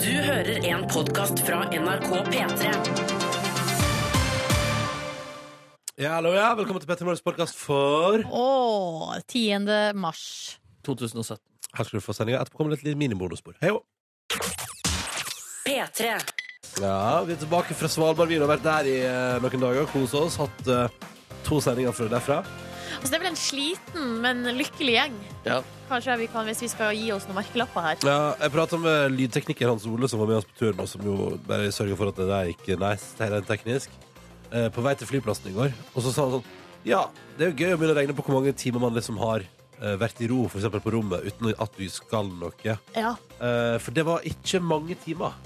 Du hører en podkast fra NRK P3. Ja, hallo, ja. Velkommen til Petter Morgens podkast for Åh, 10. mars. 2017. Her skal du få sendinga. Etterpå kommer det et lite minibonusspor. Hei jo. P3. Ja, vi er tilbake fra Svalbard. Vi har vært der i eh, noen dager og kosa oss. Hatt eh, to sendinger fra derfra. Altså, det er vel en sliten, men lykkelig gjeng. Ja. Kanskje vi kan, hvis vi skal gi oss noen merkelapper her. Ja, jeg prata med lydtekniker Hans Ole, som var med oss på turen, og som jo bare sørga for at det der gikk nice det er rent teknisk, eh, på vei til flyplassen i går. Og så sa han sånn Ja, det er jo gøy å begynne å regne på hvor mange timer man liksom har eh, vært i ro, f.eks. på rommet, uten at du skal noe. Ja. Eh, For det var ikke mange timer.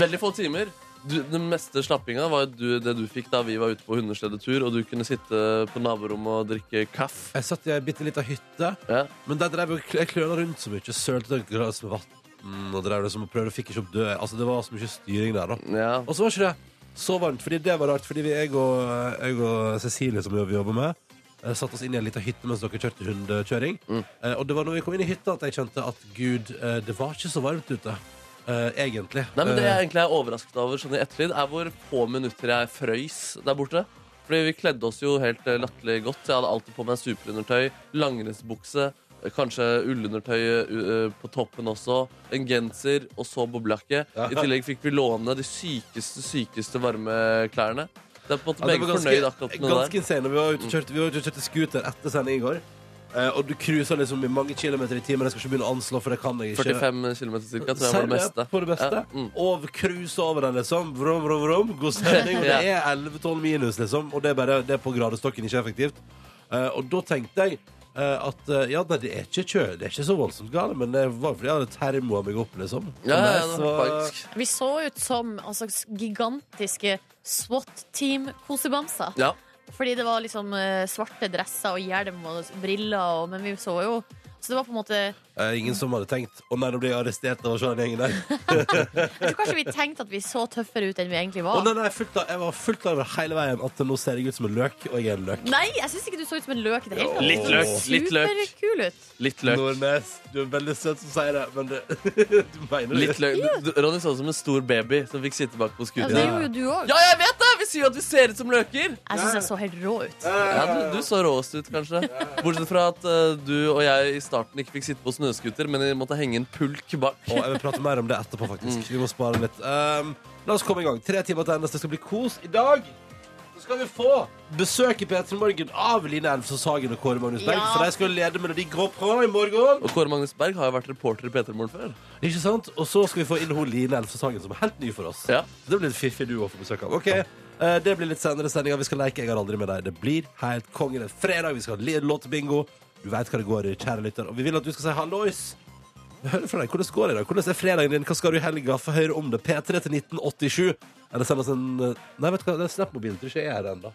Veldig få timer. Du, den meste slappinga var du, det du fikk da vi var ute på hundesledetur, og du kunne sitte på naborommet og drikke kaff. Jeg satt i ei bitte lita hytte, Ja. men der drev jeg jeg kløna rundt så mye. Sølte et glass med vann og drev liksom og prøvde å fikk ikke opp død. Altså, det var så mye styring der, da. ja. Og så var ikke det så varmt, fordi det var rart. Fordi vi, jeg, og, jeg og Cecilie, som vi jobber med, eh, satte oss inn i en liten hytte mens dere kjørte hundekjøring. Mm. Eh, Og det var når vi kom inn i hytta at jeg kjente at gud, eh, det var ikke så varmt ute. eh, Egentlig. Nei, men Det Eh, jeg egentlig er overrasket over sånn i ettertid, er hvor få minutter jeg frøys der borte. Fordi vi kledde oss jo helt eh, latterlig godt. Jeg hadde alltid på meg superundertøy, langrennsbukse, eh, kanskje ullundertøy eh, eh, på toppen også, en genser og så boblejakke. I tillegg fikk vi låne de sykeste, sykeste varme klærne. Det er på en måte Ja, det begge var fornøyd akkurat Mm. med det ganske insane. Vi var ute og kjørte, vi var ute og kjørte scooter etter sending i går. Eh, og du cruiser liksom i mange kilometer i timen. Jeg skal ikke begynne å anslå, for det kan jeg der. ikke. 45 km cirka, tror jeg var det Seriøst, meste. På det beste. Ja, mm. Og cruise over den, liksom. Vrom, vrom, vrom. God stemning. Og det er 11-12 minus, liksom. Og det er bare det er på gradestokken ikke effektivt. Eh, og da tenkte jeg eh, at eh, ja, nei, det er ikke kjø, det er ikke så voldsomt galt, men det var fordi jeg hadde termoa meg opp, liksom. Ja, ja, Og ja, så- faktisk. Vi så ut som altså, gigantiske SWAT-team-kosebamser. Ja. Fordi det var liksom eh, svarte dresser og hjelm og briller, og, men vi så jo Så det var på en måte Jeg Eh, ingen som hadde tenkt å nei, nå blir jeg arrestert av å se den gjengen der. tror kanskje vi tenkte at vi så tøffere ut enn vi egentlig Å, Ah. var. nei, nei, fullt av, jeg var fullt klar over hele veien at nå ser jeg ut som en løk, og jeg er en løk. Nei, jeg syns ikke du så ut som en løk i det hele tatt. Litt løk, litt løk. Superkul ut. Litt løk. Nordnes, du er veldig søt som sier det, men det, du mener det. Litt løk. Du- du- Ronny så ut som en stor baby som fikk sitte bak på Ja, skuteren. det gjorde jo du òg. Ja, jeg vet det! Vi sier jo at vi ser ut som løker. Jeg syns jeg så helt rå ut. Ja, du, du så råest ut, kanskje. Bortsett fra at eh, du og jeg i starten ikke fikk sitte på snøskuter, men vi måtte henge en pulk bak. Og jeg vil prate mer om det etterpå, faktisk. Vi må spare litt. Um, la oss komme i gang. Tre timer til endes. Det skal bli kos. I dag så skal vi få besøk i P3 Morgen av Line Elvsås Hagen og Kåre Magnus Berg. Ja. For de skal lede Melodi Grand Prix i morgen. Og Kåre Magnus Berg har jo vært reporter i P3 Morgen før. Ikke sant? Og så skal vi få inn hun Line Elvsås Hagen, som er helt ny for oss. Ja. Det blir litt fiffig du å få besøk av. Ok, eh, Det blir litt senere sendinger. Vi skal leke Jeg har aldri med deg. Det blir helt konge. Det er fredag. Vi skal ha låtbingo. Du veit hva det går i, kjære lytter. Og vi vil at du skal si hallois. Hør fra deg. Hvordan går det i dag? Hvordan er fredagen din? Hva skal du i helga? Få høre om det. P3 til 1987. Eller send oss en eh, Nei, vet du hva, det er Snap-mobilen. Tror ikke jeg er her ennå.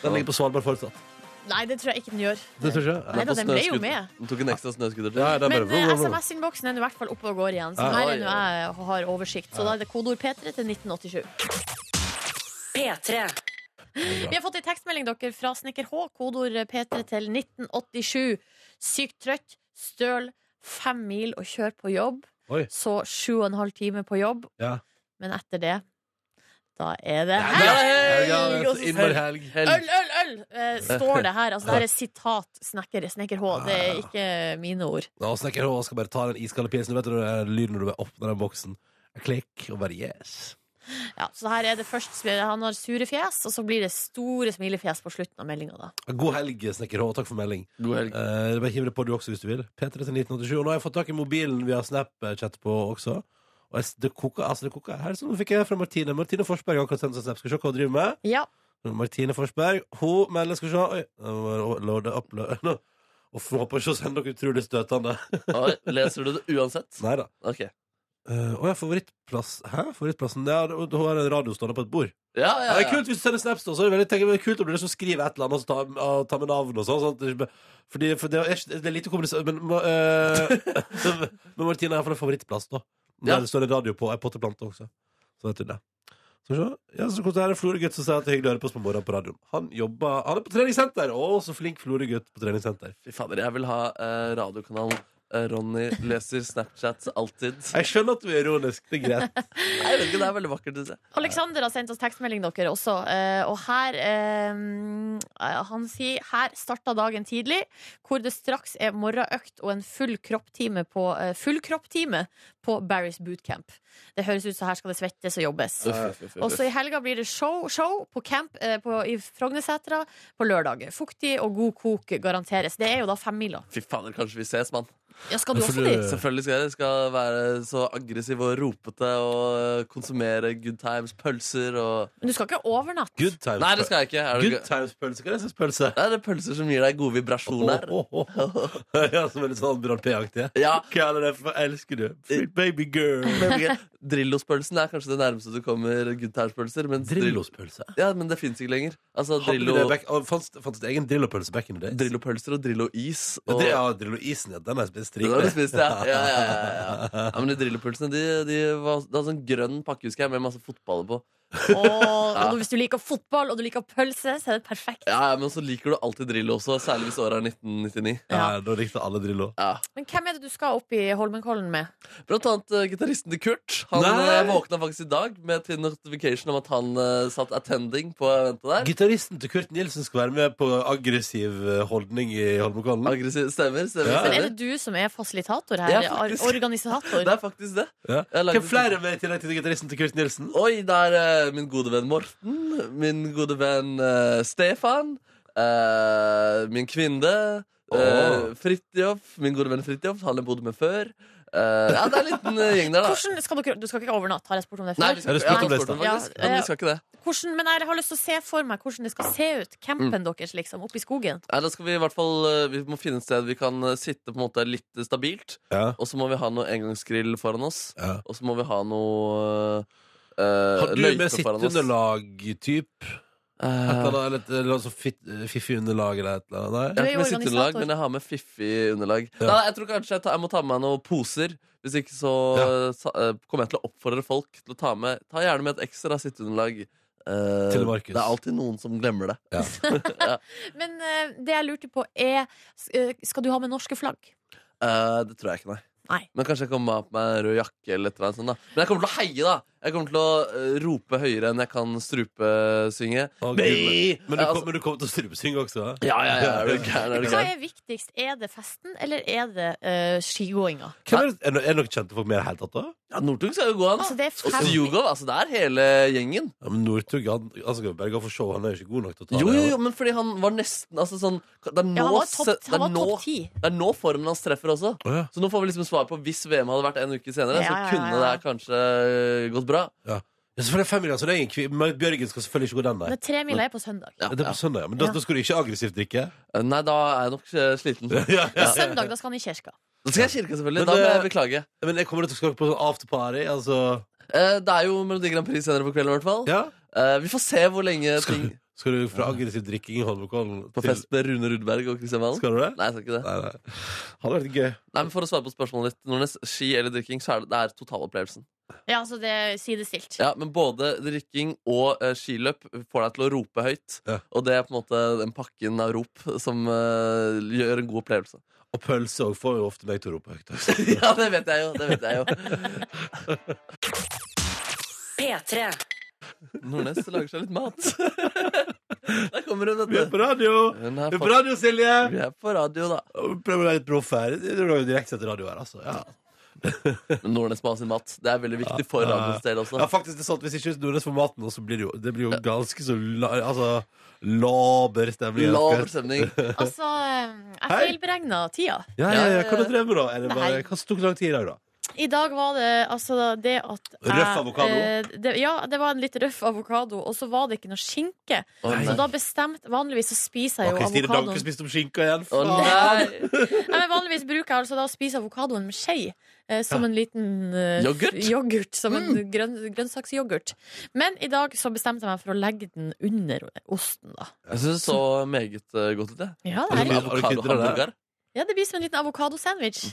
Den ligger på Svalbard fortsatt. Nei, det tror jeg ikke den gjør. Det tror ikke jeg. Nei da, På den ble jo snøskuter. med. Den tok en ekstra snøskuter til. Ja, den Men eh, altså, bare- SMS-innboksen er nå i hvert fall oppe og går igjen. Så Ja. her Oi, er nå jeg har oversikt. Så da er det kodeord P3 til 1987. P3. Vi har fått en tekstmelding dere fra Snekker H, kodeord P3 til 1987. Sykt trøtt, støl, fem mil å kjøre på jobb. Oi. Så sju og en halv time på jobb. Ja. Men etter det, da er det Ja, helg! ja, det er Og så så innmari helg. Helg. Øl, øl, øl! eh, Står det her. Altså, det her er sitat snekker, snekker H. Det er ikke mine ord. Ja, og snekker H skal bare ta den iskalde pilsen. Du vet når det er lyden når du åpner den boksen. Klikk, og bare yes. Ja, så her er det først sm- Han har sure fjes, og så blir det store smilefjes på slutten av meldinga, da. God helg, snekker H. Takk for melding. God helg. Eh, bare hiv det på du også hvis du vil. P3 til 1987. Og nå har jeg fått tak i mobilen vi har Snap-chat på også. Og jeg, s- det koker, altså det koker her. Sånn fikk jeg fra Martine. Martine Forsberg har akkurat sendt oss en Snap. Skal vi se hva hun driver med. Ja. Martine Forsberg, hun melder Skal vi se Oi, nå må jeg loade up lo- nå. Og f- håper ikke å sende noe utrolig støtende. Oi, Leser du det uansett? Nei da. Ok. Uh, og jeg har favorittplass Hæ? Favorittplassen? Ja, hun hun har en radio stående på et bord. Ja, Ja, ja, det er ja. kult hvis du sender snaps da, så er det veldig tenker jeg, det er kult om du liksom skriver et eller annet og så tar, og tar med navn og sånn. sånn at det ikke blir- Fordi, for det er, ikke- det er lite kommunisert, men, ma- eh, men Martine er i hvert fall en favorittplass da. Der Ja. det står en radio på, en potteplante også. Så vet du det. Så se, ja, så koser jeg her en Florø-gutt som sier at det er hyggelig å høre på oss på morgenen på radioen. Han jobber, han er på treningssenter! Å, så flink Florø-gutt på treningssenter. Fy fader, jeg vil ha eh, radiokanalen eh, Ronny leser Snapchat alltid. Jeg skjønner at du er ironisk. Det er greit. Jeg vet ikke, Det er veldig vakkert. Synes jeg. Alexander har sendt oss tekstmelding dere også, eh, og her eh, Han sier her starta dagen tidlig, hvor det straks er morgenøkt og en full kropptime på, eh, full kropptime på Barry's bootcamp. Det høres ut som her skal det svettes og jobbes. Uff, uff, uff, uff. Og så i helga blir det show, show på camp eh, på, i Frognersetra på lørdag. Fuktig og god kok garanteres. Det er jo da femmiler. Fy fader, kanskje vi ses, mann. Ja, skal du Men for også du- dit? Selvfølgelig skal jeg det. Skal være så aggressiv og ropete og eh, konsumere good times, pølser og Men du skal ikke overnatte? Good times. Nei, det skal jeg ikke. Er det, Good gøy? times pølse. Hva er det slags pølse? Nei, det er pølser som gir deg gode vibrasjoner. Åh, åh, åh. Ja, som er litt sånn Brand P-aktig. Ja. Hva er det for elsker du? Free Baby girl. Drillos-pølsen er kanskje det nærmeste du kommer good times-pølser. mens drill- Drillospølse. Ja, men det fins ikke lenger. Altså, Hadde vi det Drillo- back- og Fantes fantes det egen drillopølse back in the days? Drillo-pølser og Drillo-is. Ja, Og... det, ja, Drillo-isen, ja. Den har jeg spist Den rikelig. har du spist, ja. Ja, ja, ja, ja. ja, Men de Drillo-pølsene de, de var det hadde sånn grønn pakke husker jeg, med masse fotballer på. Og, og hvis du liker fotball og du liker pølse, så er det perfekt. Ja, ja, Men så liker du alltid Drillo også, særlig hvis året er 1999. Ja, da likte alle Drillo. Ja. Men hvem er det du skal opp i Holmenkollen med? Blant annet eh, gitaristen til Kurt. Han Nei! eh, våkna faktisk i dag med til notification om at han eh, satt attending på eventet der. Gitaristen til Kurt Nilsen skal være med på aggressiv eh, holdning i Holmenkollen. Aggressiv. Stemmer, stemmer. Ja. Men er stemmer. det du som er fasilitator her? Ja, Ar- faktisk. Organisator? Det er faktisk det. Ja. Jeg lagde- Hvem flere med i tillegg til gitaristen til Kurt Nilsen? Oi, det er eh, min gode venn Morten, min gode venn eh, Stefan, eh, min kvinne, uh, Åh. Fridtjof, min gode venn Fridtjof, han jeg bodde med før. Eh, ja, det er en liten eh, gjeng der, da. Hvordan skal dere, du skal ikke overnatte, har jeg spurt om det Nei, før. Er vi skal, det ja, spurt om vi lista? eh, spurte om faktisk, Ja, men ja. vi skal ikke det. Hvordan, men jeg har lyst til å se for meg hvordan det skal se ut. Campen Mm. deres, liksom. Oppe i skogen. Nei, da skal vi i hvert fall eh, Vi må finne et sted vi kan eh, sitte på en måte litt stabilt. Ja. Og så må vi ha noe engangsgrill foran oss. Ja. Og så må vi ha noe eh, Har du med løype foran oss. sitteunderlag-typ? Et Eh, eller annet, eller et- eller annet sånn fitt- fiffig underlag eller et eller annet? Nei? Jeg har Du er ikke med jo sitteunderlag, organisator. men jeg har med fiffig underlag. Ja. Nei, nei, jeg tror kanskje jeg, ta, jeg må ta med meg noen poser. Hvis ikke så Ja. sa- eh, kommer jeg til å oppfordre folk til å ta med Ta gjerne med et ekstra sitteunderlag. Eh, Til Markus. det er alltid noen som glemmer det. Men eh, det jeg lurte på, er s- eh, Skal du ha med norske flagg? Eh, det tror jeg ikke, nei. Nei. Men kanskje jeg kommer med- på meg en rød jakke eller et eller annet sånt. da Men jeg kommer til å heie, da. Jeg kommer til å eh, rope høyere enn jeg kan strupesynge. Å, Gud. Nei! Men du Ja, kom- altså- men du kommer til å strupesynge også? Ja, ja, ja, er du gæren? Er du Hva gæren? er viktigst? Er det festen, eller er det eh, skigåinga? Hvem er, det- er, det- er det noen kjente folk med i det hele tatt, da? Ja, Northug skal jo gå, han. da. Altså, det er Og fem- Sujugov. Altså, det er hele gjengen. Ja, men Northug han, altså, han skal jo bare gå for show. Han er jo ikke god nok til å ta Jo, det. jo, jo, men fordi han var nesten altså, sånn, Det er nå, Ja, han var se- topp det er han var nå- topp ti. Det er nå formen hans treffer også. Å, ja. Så nå får vi liksom svar på hvis VM hadde vært en uke senere, Ja, så ja, ja, kunne ja. det her kanskje øh, gått bra. Ja, så for det er fem millioner, så det er ingen kvi- Marit Bjørgen skal selvfølgelig ikke gå den der. Men tremila er på søndag. Ja, Det er ja. på søndag, ja. Men da, Ja. da skal du ikke aggressivt drikke? Eh, Nei, da er jeg nok eh, sliten. Da ja, Men søndag, da skal han i kirka. skal jeg i kirka, Men selvfølgelig. eh, Da må det- jeg beklage. Men jeg kommer til å skal på sånn afterparty, altså Eh, Det er jo Melodi Grand Prix senere på kvelden, i hvert fall. Ja? Eh, Vi får se hvor lenge Skal, ting du- skal du fra aggressiv drikking i Holmenkollen På til- fest med Rune Rudberg og Christian Valen. Skal du det? Nei, jeg skal ikke det. Nei, nei. Hadde vært gøy. Nei, men For å svare på spørsmålet ditt, Nordnes. Ski eller drikking, så er det, det er totalopplevelsen. Ja, altså det er sidestilt. Ja, men både drikking og eh, skiløp får deg til å rope høyt. Ja. Og det er på en måte den pakken av rop som eh, gjør en god opplevelse. Og pølse òg får jo ofte meg til å rope høyt. altså. ja, det vet jeg jo. Det vet jeg jo. P3. Nordnes lager seg litt mat. Der kommer hun, Vi er vet du. på radio! Hun Vi er er på, på radio, Silje! vi er på radio, da. Prøv å være litt proff her. Det er jo direkte etter radio her, altså. Ja. Men Nordnes må ha sin mat. Det er veldig viktig for Ja, ja, ja. radioens del ja, også. faktisk, det er sant. Hvis ikke Nordnes får maten, nå, så blir det jo, det blir jo ganske så la, altså, laber stemning. Lav stemning. Altså, eh, jeg Hei. feilberegna tida. Ja, ja, ja. Hva drev du med, da? Er det bare, Nei. hva tok lang tid i dag, da? I dag var det altså det at jeg- Røff avokado? eh, det, ja, det var en litt røff avokado, og så var det ikke noe skinke. Å Så nei. da bestemte Vanligvis så spiser Har jeg jo Kristine Danke avokadoen. spist opp skinka igjen? Å nei! Nei, men vanligvis bruker jeg altså da å spise avokadoen med skje. eh, Som en liten eh, Yoghurt? f- yoghurt som Mm. en grønn, grønnsaksyoghurt. Men i dag så bestemte jeg meg for å legge den under osten, da. Jeg syns det så meget eh, godt ut, jeg. Ja, Er det det, er, mye- har du krydret det? Avokadohamburger. ja, det blir som en liten avokadosandwich.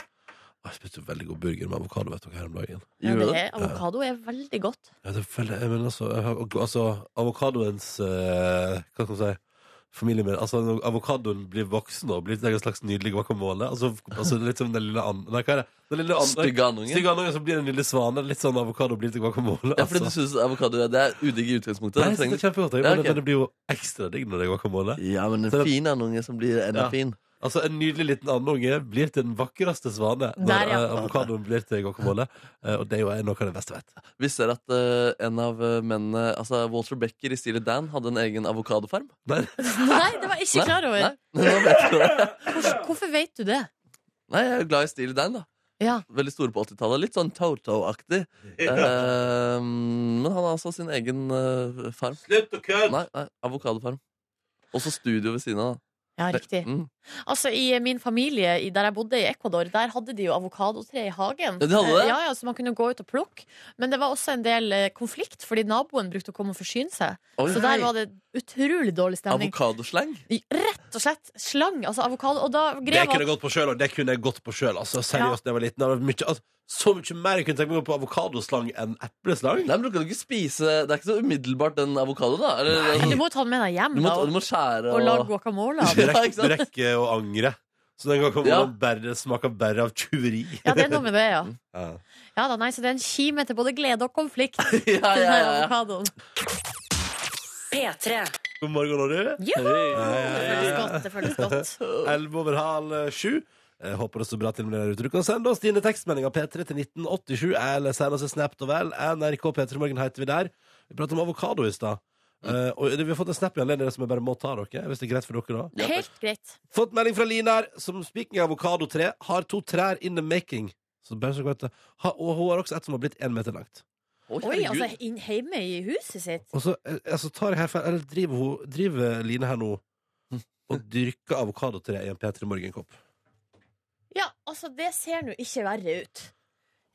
Jeg spiste jo veldig god burger med avokado vet dere, her om dagen. Ja, Gjorde du det det? er, avokado er veldig godt. Ja, det er veldig, jeg mener, altså, jeg har- altså Avokadoens eh, Hva skal man si familie med Altså, når avokadoen blir voksen og blir en slags nydelig guacamole. Altså, altså litt som den lille and... Nei, hva er det? Den lille and... Stygge andungen. Stygge andungen som blir den lille svane. Litt sånn avokado blir til guacamole. Ja, fordi du altså. synes avokado ja, det er udigg i utgangspunktet. Nei, jeg Da synes det trenger er du- kjempegodt, jeg, Ja, men, ok. men det blir jo ekstra digg når det er guacamole. ja, men Så en det- fin andunge som blir enda Ja. fin. Altså, En nydelig liten andunge blir til den vakreste svane Der, når ja. eh, avokadoen blir til guacamole. Eh, og det er jo noe av det beste jeg vet. Visste dere at eh, en av eh, mennene, altså Walter Becker i Steely Dan, hadde en egen avokadofarm? Nei, Nei, det var jeg ikke klar over. Nei, Nei, nå vet du det. Hvor- Hvorfor vet du det? Nei, jeg er jo glad i Steely Dan, da. Ja. Veldig store på 80-tallet. Litt sånn Toto-aktig. Eh, men han har altså sin egen eh, farm. Slutt å kødde! Nei, nei avokadofarm. Også studio ved siden av. ja, da. riktig. Mm. Altså, I min familie, i- der jeg bodde i Ecuador, der hadde de jo avokadotre i hagen. Eh, Ja, de hadde det? Ja, ja, Så man kunne gå ut og plukke. Men det var også en del eh, konflikt, fordi naboen brukte å komme og forsyne seg. Oi, Så hei. der var det utrolig dårlig stemning. Avokadoslang? I- Rett og slett slang. Altså avokado. Og da Det grev kunne jeg gått at på sjøl, og det kunne jeg gått på sjøl. Altså, seriøst, da jeg var liten. Det var mye, altså, så mye mer jeg kunne tenke meg på avokadoslang enn epleslang. Nei, men du kan jo ikke spise Det er ikke så umiddelbart den avokadoen, da. Eller, altså, Du må jo ta den med deg hjem du, må, da, du og, må skjære og lage guacamole av Du den. Ja, rekker, ikke sant? du rekker å angre. Så den gangen Ja. ja. bare, smaker bare av tyveri. Ja, det er noe med det, ja. Ja. ja da, nei, så det er en kime til både glede og konflikt. ja, Den ja, her ja, ja. avokadoen. P3. God morgen, Norge. Juhu! Det ja, føles godt. Det føles godt. Elleve over halv eh, sju. Jeg håper det står bra til med dere ute. Du kan sende oss dine tekstmeldinger P3 til 1987, eller send oss en snap og vel. NRK P3 Morgen heter vi der. Vi pratet om avokado i stad. Eh, og det- vi har fått en snap i anledning til det som jeg bare må ta dere, hvis det er greit for dere da. Ja, Helt greit. Fått melding fra Line her, som speaking av avokadotre, har to trær in the making. Så bare så dere vet det. Ha, og hun har også et som har blitt én meter langt. Oi, herregud. altså inn- hjemme i huset sitt? Og så eh, altså, tar jeg her feil, eller driver, hun, driver Line her nå og dyrker avokadotre i en P3 Morgen-kopp. Ja, altså det ser nå ikke verre ut.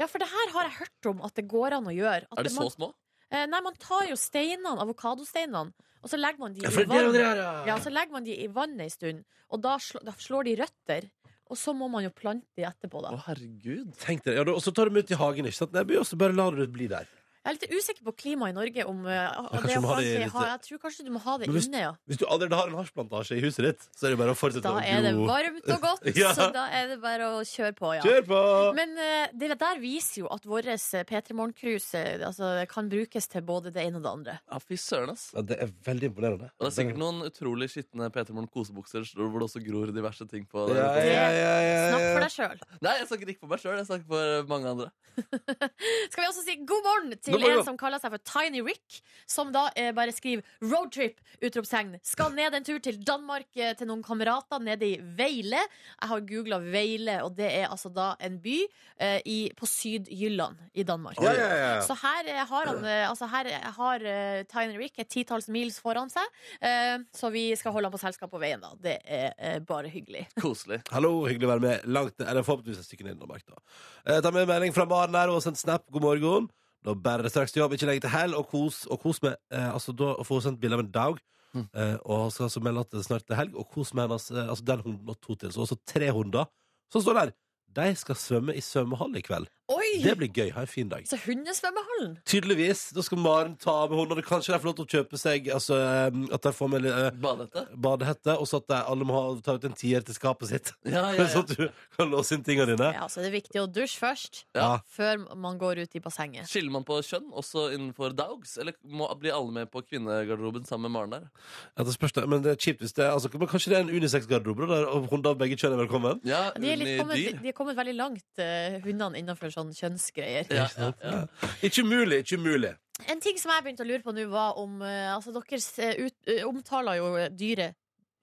Ja, for det her har jeg hørt om at det går an å gjøre. At Er de så man, små? eh, nei, man tar jo steinene, avokadosteinene, og så legger man de i det er jo vann. det her, Ja, så legger man de i vannet en stund, og da, slå, da slår de røtter. Og så må man jo plante de etterpå, da. Å, herregud. Tenk dere, ja, da- Og så tar de ut i hagen, ikke sant? Nei, vi også bare lar det bli der. Jeg er litt usikker på klimaet i Norge om eh, kanskje det du må ha det faktisk- i litt- ha- Jeg tror kanskje du må ha det Men hvis- inne, ja. Hvis du allerede har en hasjplantasje i huset ditt, så er det bare å fortsette Da å er det gro. varmt og godt, Ja. så da er det bare å kjøre på, ja. Kjør på! Men eh, det der viser jo at vår P3 Morgen-cruise eh, altså, kan brukes til både det ene og det andre. Ja, fy søren, ass. Ja, det er veldig imponerende. Og det er sikkert noen utrolig skitne Peter Morn kosebukser hvor det også gror diverse ting på. Ja, ja, ja, ja, Snakk ja. for deg sjøl. Nei, jeg snakker ikke for meg sjøl, jeg snakker for eh, mange andre. Skal vi også si god morgen til God morgen. en som kaller seg for Tiny Rick, som da eh, bare skriver 'roadtrip', utropstegn. Skal ned en tur til Danmark eh, til noen kamerater nede i Veile. Jeg har googla Veile, og det er altså da en by eh, i, på Syd-Jylland i Danmark. Ja, ja, ja. Så her eh, har, han, eh, altså her eh, har eh, Tiny Rick et titalls mils foran seg, eh, så vi skal holde han på selskap på veien, da. Det er eh, bare hyggelig. Koselig. Hallo, hyggelig å være med. Langt, eller forhåpentligvis et stykke ned i Danmark, da. Eh, ta med en melding fra Maren her og send snap. God morgen. Da bærer det straks til jobb. Ikke legg til hell og kos, og kos med eh, Altså, da får hun sendt bilde av en dag. Eh, og skal altså melde at det snart er helg, og kos med hennes eh, Altså den hunden og to til. Så også tre hunder. Så står det her. De skal svømme i svømmehall i kveld. Det Oi! blir gøy. Ha en fin dag. Så hundesvømmehallen! Tydeligvis. Da skal Maren ta med hundene. Kanskje de får lov til å kjøpe seg Altså eh, at de får med eh, Badehette. badehette, og så at de, alle må ha, ta ut en tier til skapet sitt. Ja, ja, Sånn ja. at du kan låse inn tingene dine. Ja, så det er viktig å dusje først Ja. Før man går ut i bassenget Skiller man på kjønn også innenfor dogs, eller må, blir alle med på kvinnegarderoben sammen med Maren der? Ja, det spørs det. Men det er kjipt hvis det er altså, Men kanskje det er en unisex-garderobe da, der hunder av begge kjønn er velkommen? Ja, De er, litt sånn, kommet, unidyr. de er kommet veldig langt eh, Hundene innenfor sånn kjønnsgreier Ja, ja, ja. Ikke umulig, ikke umulig. En ting som jeg begynte å lure på nå var om eh, Altså dere eh, ut, eh, omtaler jo eh, dyret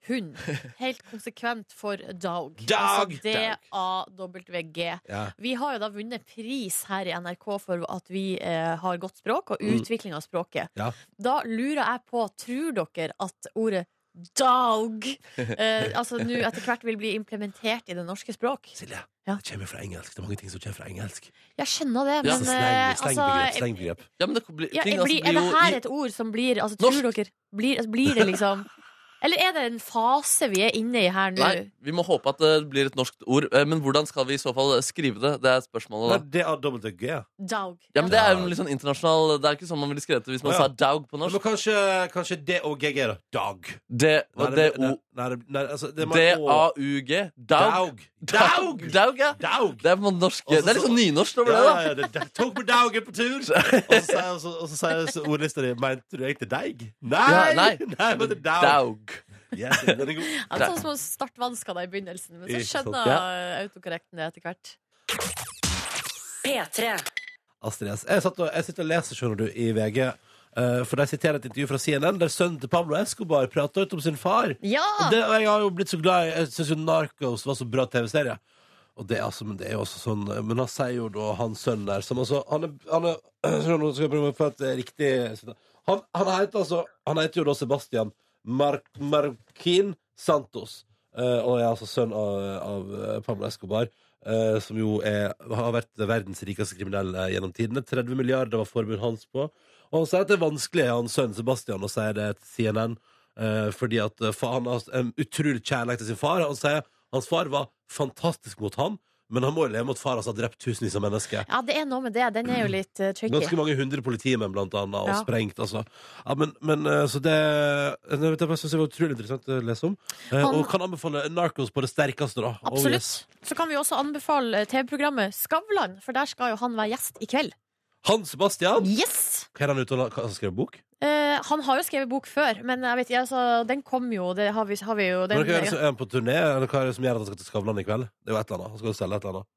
Hund Helt konsekvent for dog Dog! Altså D-A-W-G Ja. Vi har jo da vunnet pris her i NRK for at vi eh, har godt språk og Mm. utvikling av språket. Ja. Da lurer jeg på, tror dere at ordet dog eh, altså nå etter hvert vil bli implementert i det norske språk? Silje, Ja. det kommer fra engelsk. Det er mange ting som kommer fra engelsk. Jeg skjønner det, Ja. Så men eh, sleng, altså slengbegrep, slengbegrep. ja men det blir, ja, ting, blir, Er altså, blir det jo her i- et ord som blir altså, Tror dere blir, altså, blir det liksom Eller er det en fase vi er inne i her nå? Nei, vi må håpe at det blir et norsk ord. eh, Men hvordan skal vi i så fall skrive det? Det er spørsmålet da. Nei, det er dobbelt G. Ja. Daug. Ja, men Det er jo litt sånn internasjonal Det er ikke sånn man ville skrevet det hvis man Å, ja. sa daug på Men norsk. kanskje, kanskje DOGG, da. Dag. D- Nei, D- det- O- nei, det- nei, altså, det må- Å. D-a-u-g. Daug. Daug. Daug! Daug, ja. Daug! Det er på norsk. Altså, Det er litt så- sånn nynorsk over Ja, det, ja, da. ja, det, det, tok på daugen på tur, og så sier- og så- og så sier så ordlista di Mente du egentlig deig? Nei! Ja, nei. nei men det er daug. Daug. Yes, den er god. Ja, det er sånn som å starte vansker da i begynnelsen, men så Ikke sant. skjønner Ja. eh, autokorrekten det etter hvert. P3. Astrid S. Jeg, satt og, jeg sitter og leser, skjønner du, i VG. eh, for de siterer et intervju fra CNN der sønnen til Pablo Escobar prater ut om sin far. Ja! Og, det, og jeg har jo blitt så glad i Jeg syns jo Narcos var så bra TV-serie. Og det, er altså, men det er jo også sånn Men han sier jo da han sønnen der som altså Han er, han er skjønner du, nå skal jeg prøve å få et eh, riktig han, han heter altså Han heter jo da Sebastian Mar Marquin Santos. eh, og er altså sønn av, av eh, Pablo Escobar. eh, som jo er, har vært verdens rikeste kriminell eh, gjennom tidene. 30 milliarder var formuen hans på. Og han sier at det er vanskelig av hans sønn Sebastian å si det til CNN. Eh, fordi at eh, fa- han har en utrolig kjærlighet til sin far. Han sier hans far var fantastisk mot ham, men han må jo leve mot far hans har drept tusenvis av mennesker. Ja, det er noe med det. Den er jo litt eh, tricky. Ganske mange hundre politimenn, blant annet, og Ja. sprengt, altså. Ja, men, men eh, så det Jeg vet ikke, jeg synes det var utrolig interessant å lese om. Eh, Han- Og kan anbefale Narcos på det sterkeste, da. Oh, Absolutt. yes. Så kan vi også anbefale eh, TV-programmet Skavlan, for der skal jo han være gjest i kveld. Hans Sebastian! Yes! Hva er han ute og la- hva- han skrev bok? Eh, han har jo skrevet bok før, men jeg vet, ikke, altså, den kom jo. Det har vi, har vi jo Men den, hva er det som er han på turné? Eller hva er det som gjør at han skal til Skavlan i kveld? Det er jo et eller annet. Han skal jo selge et eller annet.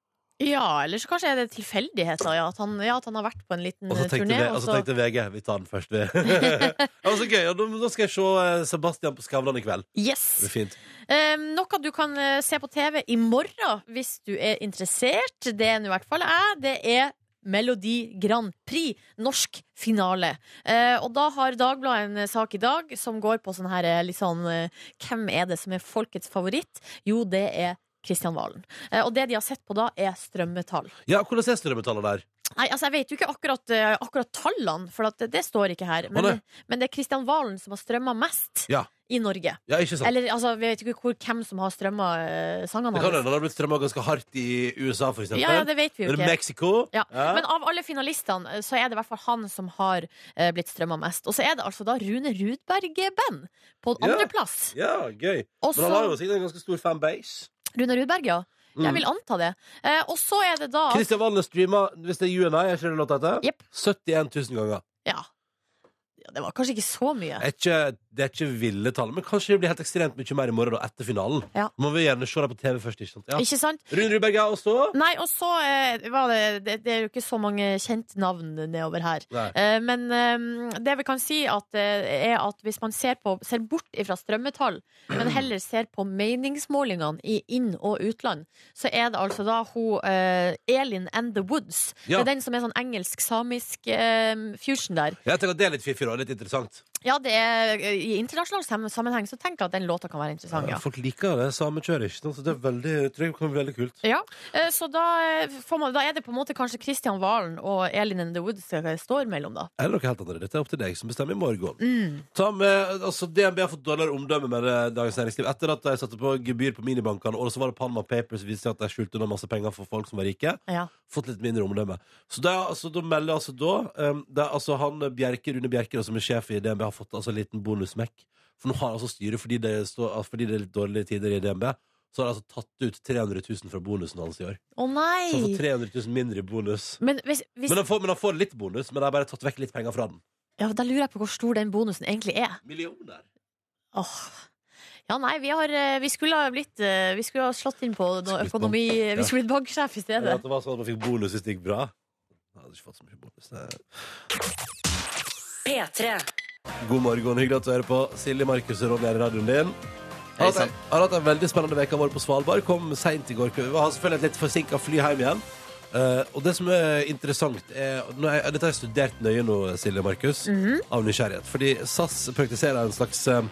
Ja, eller så kanskje er det tilfeldigheter. Ja, at han, ja, at han har vært på en liten Og så eh, tenkte, turné. vi, og og så så- tenkte VG vi tar den først. Vi. det var så gøy. Og da, da skal jeg se eh, Sebastian på Skavlan i kveld. Det Yes! blir fint. Eh, noe du kan eh, se på TV i morgen hvis du er interessert. Det er nå i hvert fall jeg. Det er Melodi Grand Prix, norsk finale. Eh, og da har Dagbladet en eh, sak i dag som går på sånn her eh, litt sånn eh, Hvem er det som er folkets favoritt? Jo, det er Kristian Valen. Eh, og det de har sett på da, er strømmetall. Ja, hvordan er strømmetallet der? Nei, altså Jeg vet jo ikke akkurat, eh, akkurat tallene, for at det, det står ikke her. Men, Å, nei. men det er Kristian Valen som har strømma mest Ja. i Norge. Ja, ikke sant? Eller altså, vi vet jo ikke hvor, hvem som har strømma eh, Det sangene kan hans. hende han har blitt strømma ganske hardt i USA, for eksempel. Ja, ja, det vet vi jo Eller ikke. Mexico. Ja. Men av alle finalistene eh, så er det i hvert fall han som har eh, blitt strømma mest. Og så er det altså da Rune Rudberg-band på Ja. andreplass. Ja, gøy. Og Men han har jo så sikkert en ganske stor fanbase. Mm. Rune Rudberg, ja. Jeg vil anta det. Eh, og så er det da Christian Valen streama, hvis det er UNI, er ikke det låta etter? Jepp. 71 000 ganger. ja. ja. Det var kanskje ikke så mye. er ikke, det er ikke ville tall, men kanskje det blir helt ekstremt mye mer i morgen, da, etter finalen. Ja. Man vil gjerne se det på TV først, ikke sant? Ja. Ikke sant? Rune Rudberg er også Nei, og så eh, var det, det Det er jo ikke så mange kjente navn nedover her. Nei. Eh, men eh, det vi kan si, at, eh, er at hvis man ser, på, ser bort ifra strømmetall, men heller ser på meningsmålingene i inn- og utland, så er det altså da hun eh, Elin and the Woods. Ja. Det er den som er sånn engelsk-samisk eh, fusion der. Jeg tenker at Det er litt fiffig og litt interessant. Ja, det er eh, i internasjonal sam- sammenheng så tenker jeg at den låta kan være interessant, ja. Folk liker det samekjøret, ikke sant? Så det er veldig, jeg tror det kan bli veldig kult. Ja, eh, så da, eh, får man, da er det på en måte kanskje Kristian Valen og Elin and the Woods det står mellom, da. Eller noe helt annet. Dette er opp til deg som bestemmer i morgen. Ta med, altså DNB har fått dårligere omdømme med eh, Dagens Næringsliv etter at de satte på gebyr på minibankene, og så var det Panama Papers som viste seg at de skjulte unna masse penger for folk som var rike. Ja. Fått litt mindre omdømme. Så da, altså, da melder altså da um, det er, altså, han eh, Bjerke, Rune Bjerke, da, som er sjef i DNB, har fått altså, en liten bonussmekk. For nå har altså styret, fordi det, står, altså, fordi det er litt dårlige tider i DNB, så har de altså tatt ut 300 000 fra bonusen hans i år. Å Så han får nei! 300 000 mindre i bonus. Men hvis, hvis, Men han, får, men han får litt bonus, men de har bare tatt vekk litt penger fra den. ja, da lurer jeg på hvor stor den bonusen egentlig er. Millioner. Åh. Ja, nei, vi, har, eh, vi skulle ha blitt eh, Vi skulle ha slått inn på noe blitt økonomi ja. Vi skulle blitt banksjef i Eller stedet. at det var sånn at man fikk bonus hvis det gikk bra. Jeg hadde ikke fått så mye bonus. Nei. P3. God morgen, hyggelig at du hører på. Silje, Markus og Ronny er i radioen din. Har hatt- sann. har hatt en veldig spennende uke vår på Svalbard. Kom seint i går kveld. Vi har selvfølgelig et litt forsinka fly hjem igjen. Eh, og det som er interessant er, når jeg, Dette har jeg studert nøye nå, Silje og Markus, av nysgjerrighet. Fordi SAS praktiserer en slags eh,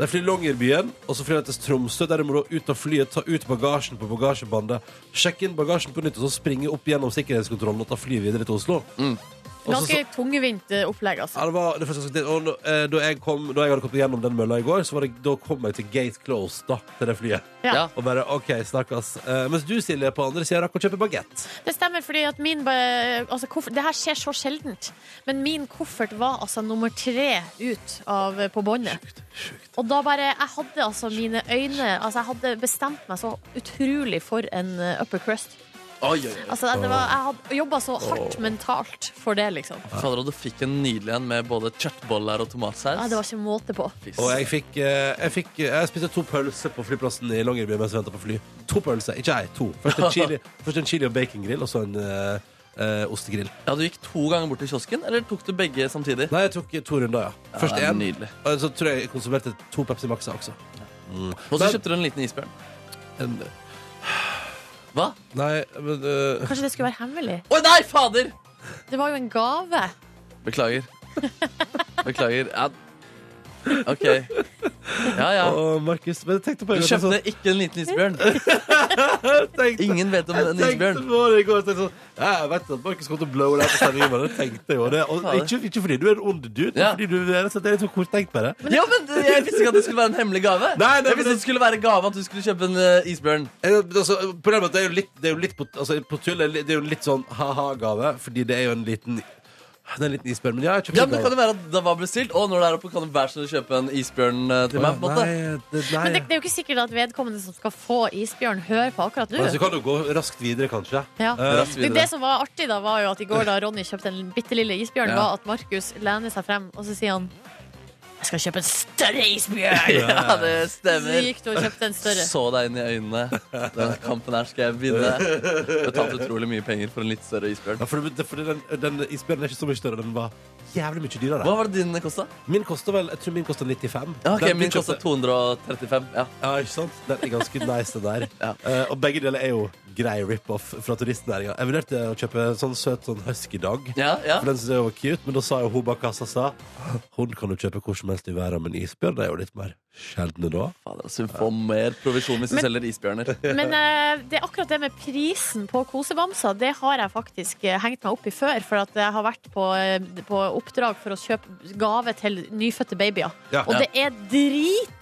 De flyr Longyearbyen, og så flyr de til Tromsø, der de må da ut av flyet, ta ut bagasjen på bagasjebandet, sjekke inn bagasjen på nytt, og så springe opp gjennom sikkerhetskontrollen og ta flyet videre til Oslo. Og Og så- Ganske tungvint eh, opplegg, altså. Ja, det var det første, jeg skulle til. og nå, eh, da, jeg kom, da jeg hadde kommet gjennom den mølla i går, så var det, da kom jeg til gate close da, til det flyet. Ja. Ja. Og bare OK, stakkars. Eh, mens du, Silje, på andre sida rakk å kjøpe bagett. Det stemmer, fordi at min ba- altså, koffert, Det her skjer så sjeldent. Men min koffert var altså nummer tre ut av, eh, på båndet. Og da bare Jeg hadde altså mine øyne Altså, jeg hadde bestemt meg så utrolig for en eh, upper crust. Oi, oi, oi. Altså, det var, jeg hadde jobba så hardt mentalt for det, liksom. Fader, og du fikk en nydelig en med både kjøttboller og tomatsaus. Ja, det var ikke måte på. Fy Og jeg søren. fikk, eh, jeg fikk Jeg spiste to pølser på flyplassen i Longyearbyen mens jeg venta på fly. To pølser, ikke ei, to. Først en chili, først en chili og bacongrill, og så en eh, eh, ostegrill. ja, Du gikk to ganger bort til kiosken, eller tok du begge samtidig? Nei, jeg tok to runder, ja. Først det er én, nydelig. og så tror jeg jeg konsumerte to Pepsi Maxa også. Og så Men- kjøpte du en liten isbjørn. En, Hva? nei, men eh, Kanskje det skulle være hemmelig? Å nei, fader! Det var jo en gave. Beklager. Beklager. Ja. OK. Ja, ja. Å, Markus. Men jeg tenkte på Du en gang kjøpte ikke en liten isbjørn. jeg tenkte- Ingen vet om en Jeg isbjørn. tenkte på det i går. Jeg tenkte sånn, ja, jeg vet at Markus kommer til å blowe det her på sendingen, men det tenkte jeg jo. Det, og Fader. ikke, ikke fordi du er en ond dude, men Ja. fordi du er rett og slett er litt så korttenkt med det. Ja, men Jeg visste ikke at det skulle være en hemmelig gave. Nei, nei, jeg men visste det skulle være gave at du skulle kjøpe en eh, isbjørn. Jeg, altså, på den måten, det er jo litt, det er jo litt på, altså, på tull, det er jo litt sånn ha-ha-gave, fordi det er jo en liten det er en liten isbjørn, men ja, jeg kjøpte Ja, men Det gave. kan jo være at det var bestilt. Og når det er oppe, kan du være så snill å kjøpe en isbjørn eh, til meg. på en måte Nei, det, nei. Men det, det er jo ikke sikkert at vedkommende som skal få isbjørn, hører på akkurat Men så nå. Altså, kan du gå raskt videre, kanskje. Ja. Eh, Raskt Men videre. det som var artig, da var jo at i går da Ronny kjøpte en bitte lille isbjørn, Ja. var at Markus lener seg frem, og så sier han Jeg skal kjøpe en større isbjørn! Ja, det Så stemmer. gikk du og kjøpte en større. Så deg inn i øynene. Denne kampen her skal jeg vinne. Betalte utrolig mye penger for en litt større isbjørn. ja, for det, for den, den isbjørnen er ikke så mye større, den var jævlig mye dyrere. Hva var det din kosta? Min koster vel, jeg tror min koster 95. Ja, ok, Den du min kosta kjøpte- 235. Ja. Ja, ikke sant? Den er ganske nice, den der. Ja. Eh, og begge deler er jo grei rip-off fra turistnæringa. Jeg vurderte å kjøpe sånn søt sånn husky-dog. Ja, ja. For den synes jeg var cute, men da sa jo hun bak kassa sa Hun kan du kjøpe hvor som helst i verden, men isbjørn er jo litt mer sjeldne da. Fader, altså, hun får mer provisjon hvis hun Men- selger isbjørner. Men eh, det er akkurat det med prisen på kosebamser, det har jeg faktisk eh, hengt meg opp i før. For at jeg har vært på, eh, på oppdrag for å kjøpe gave til nyfødte babyer. Ja. Og det er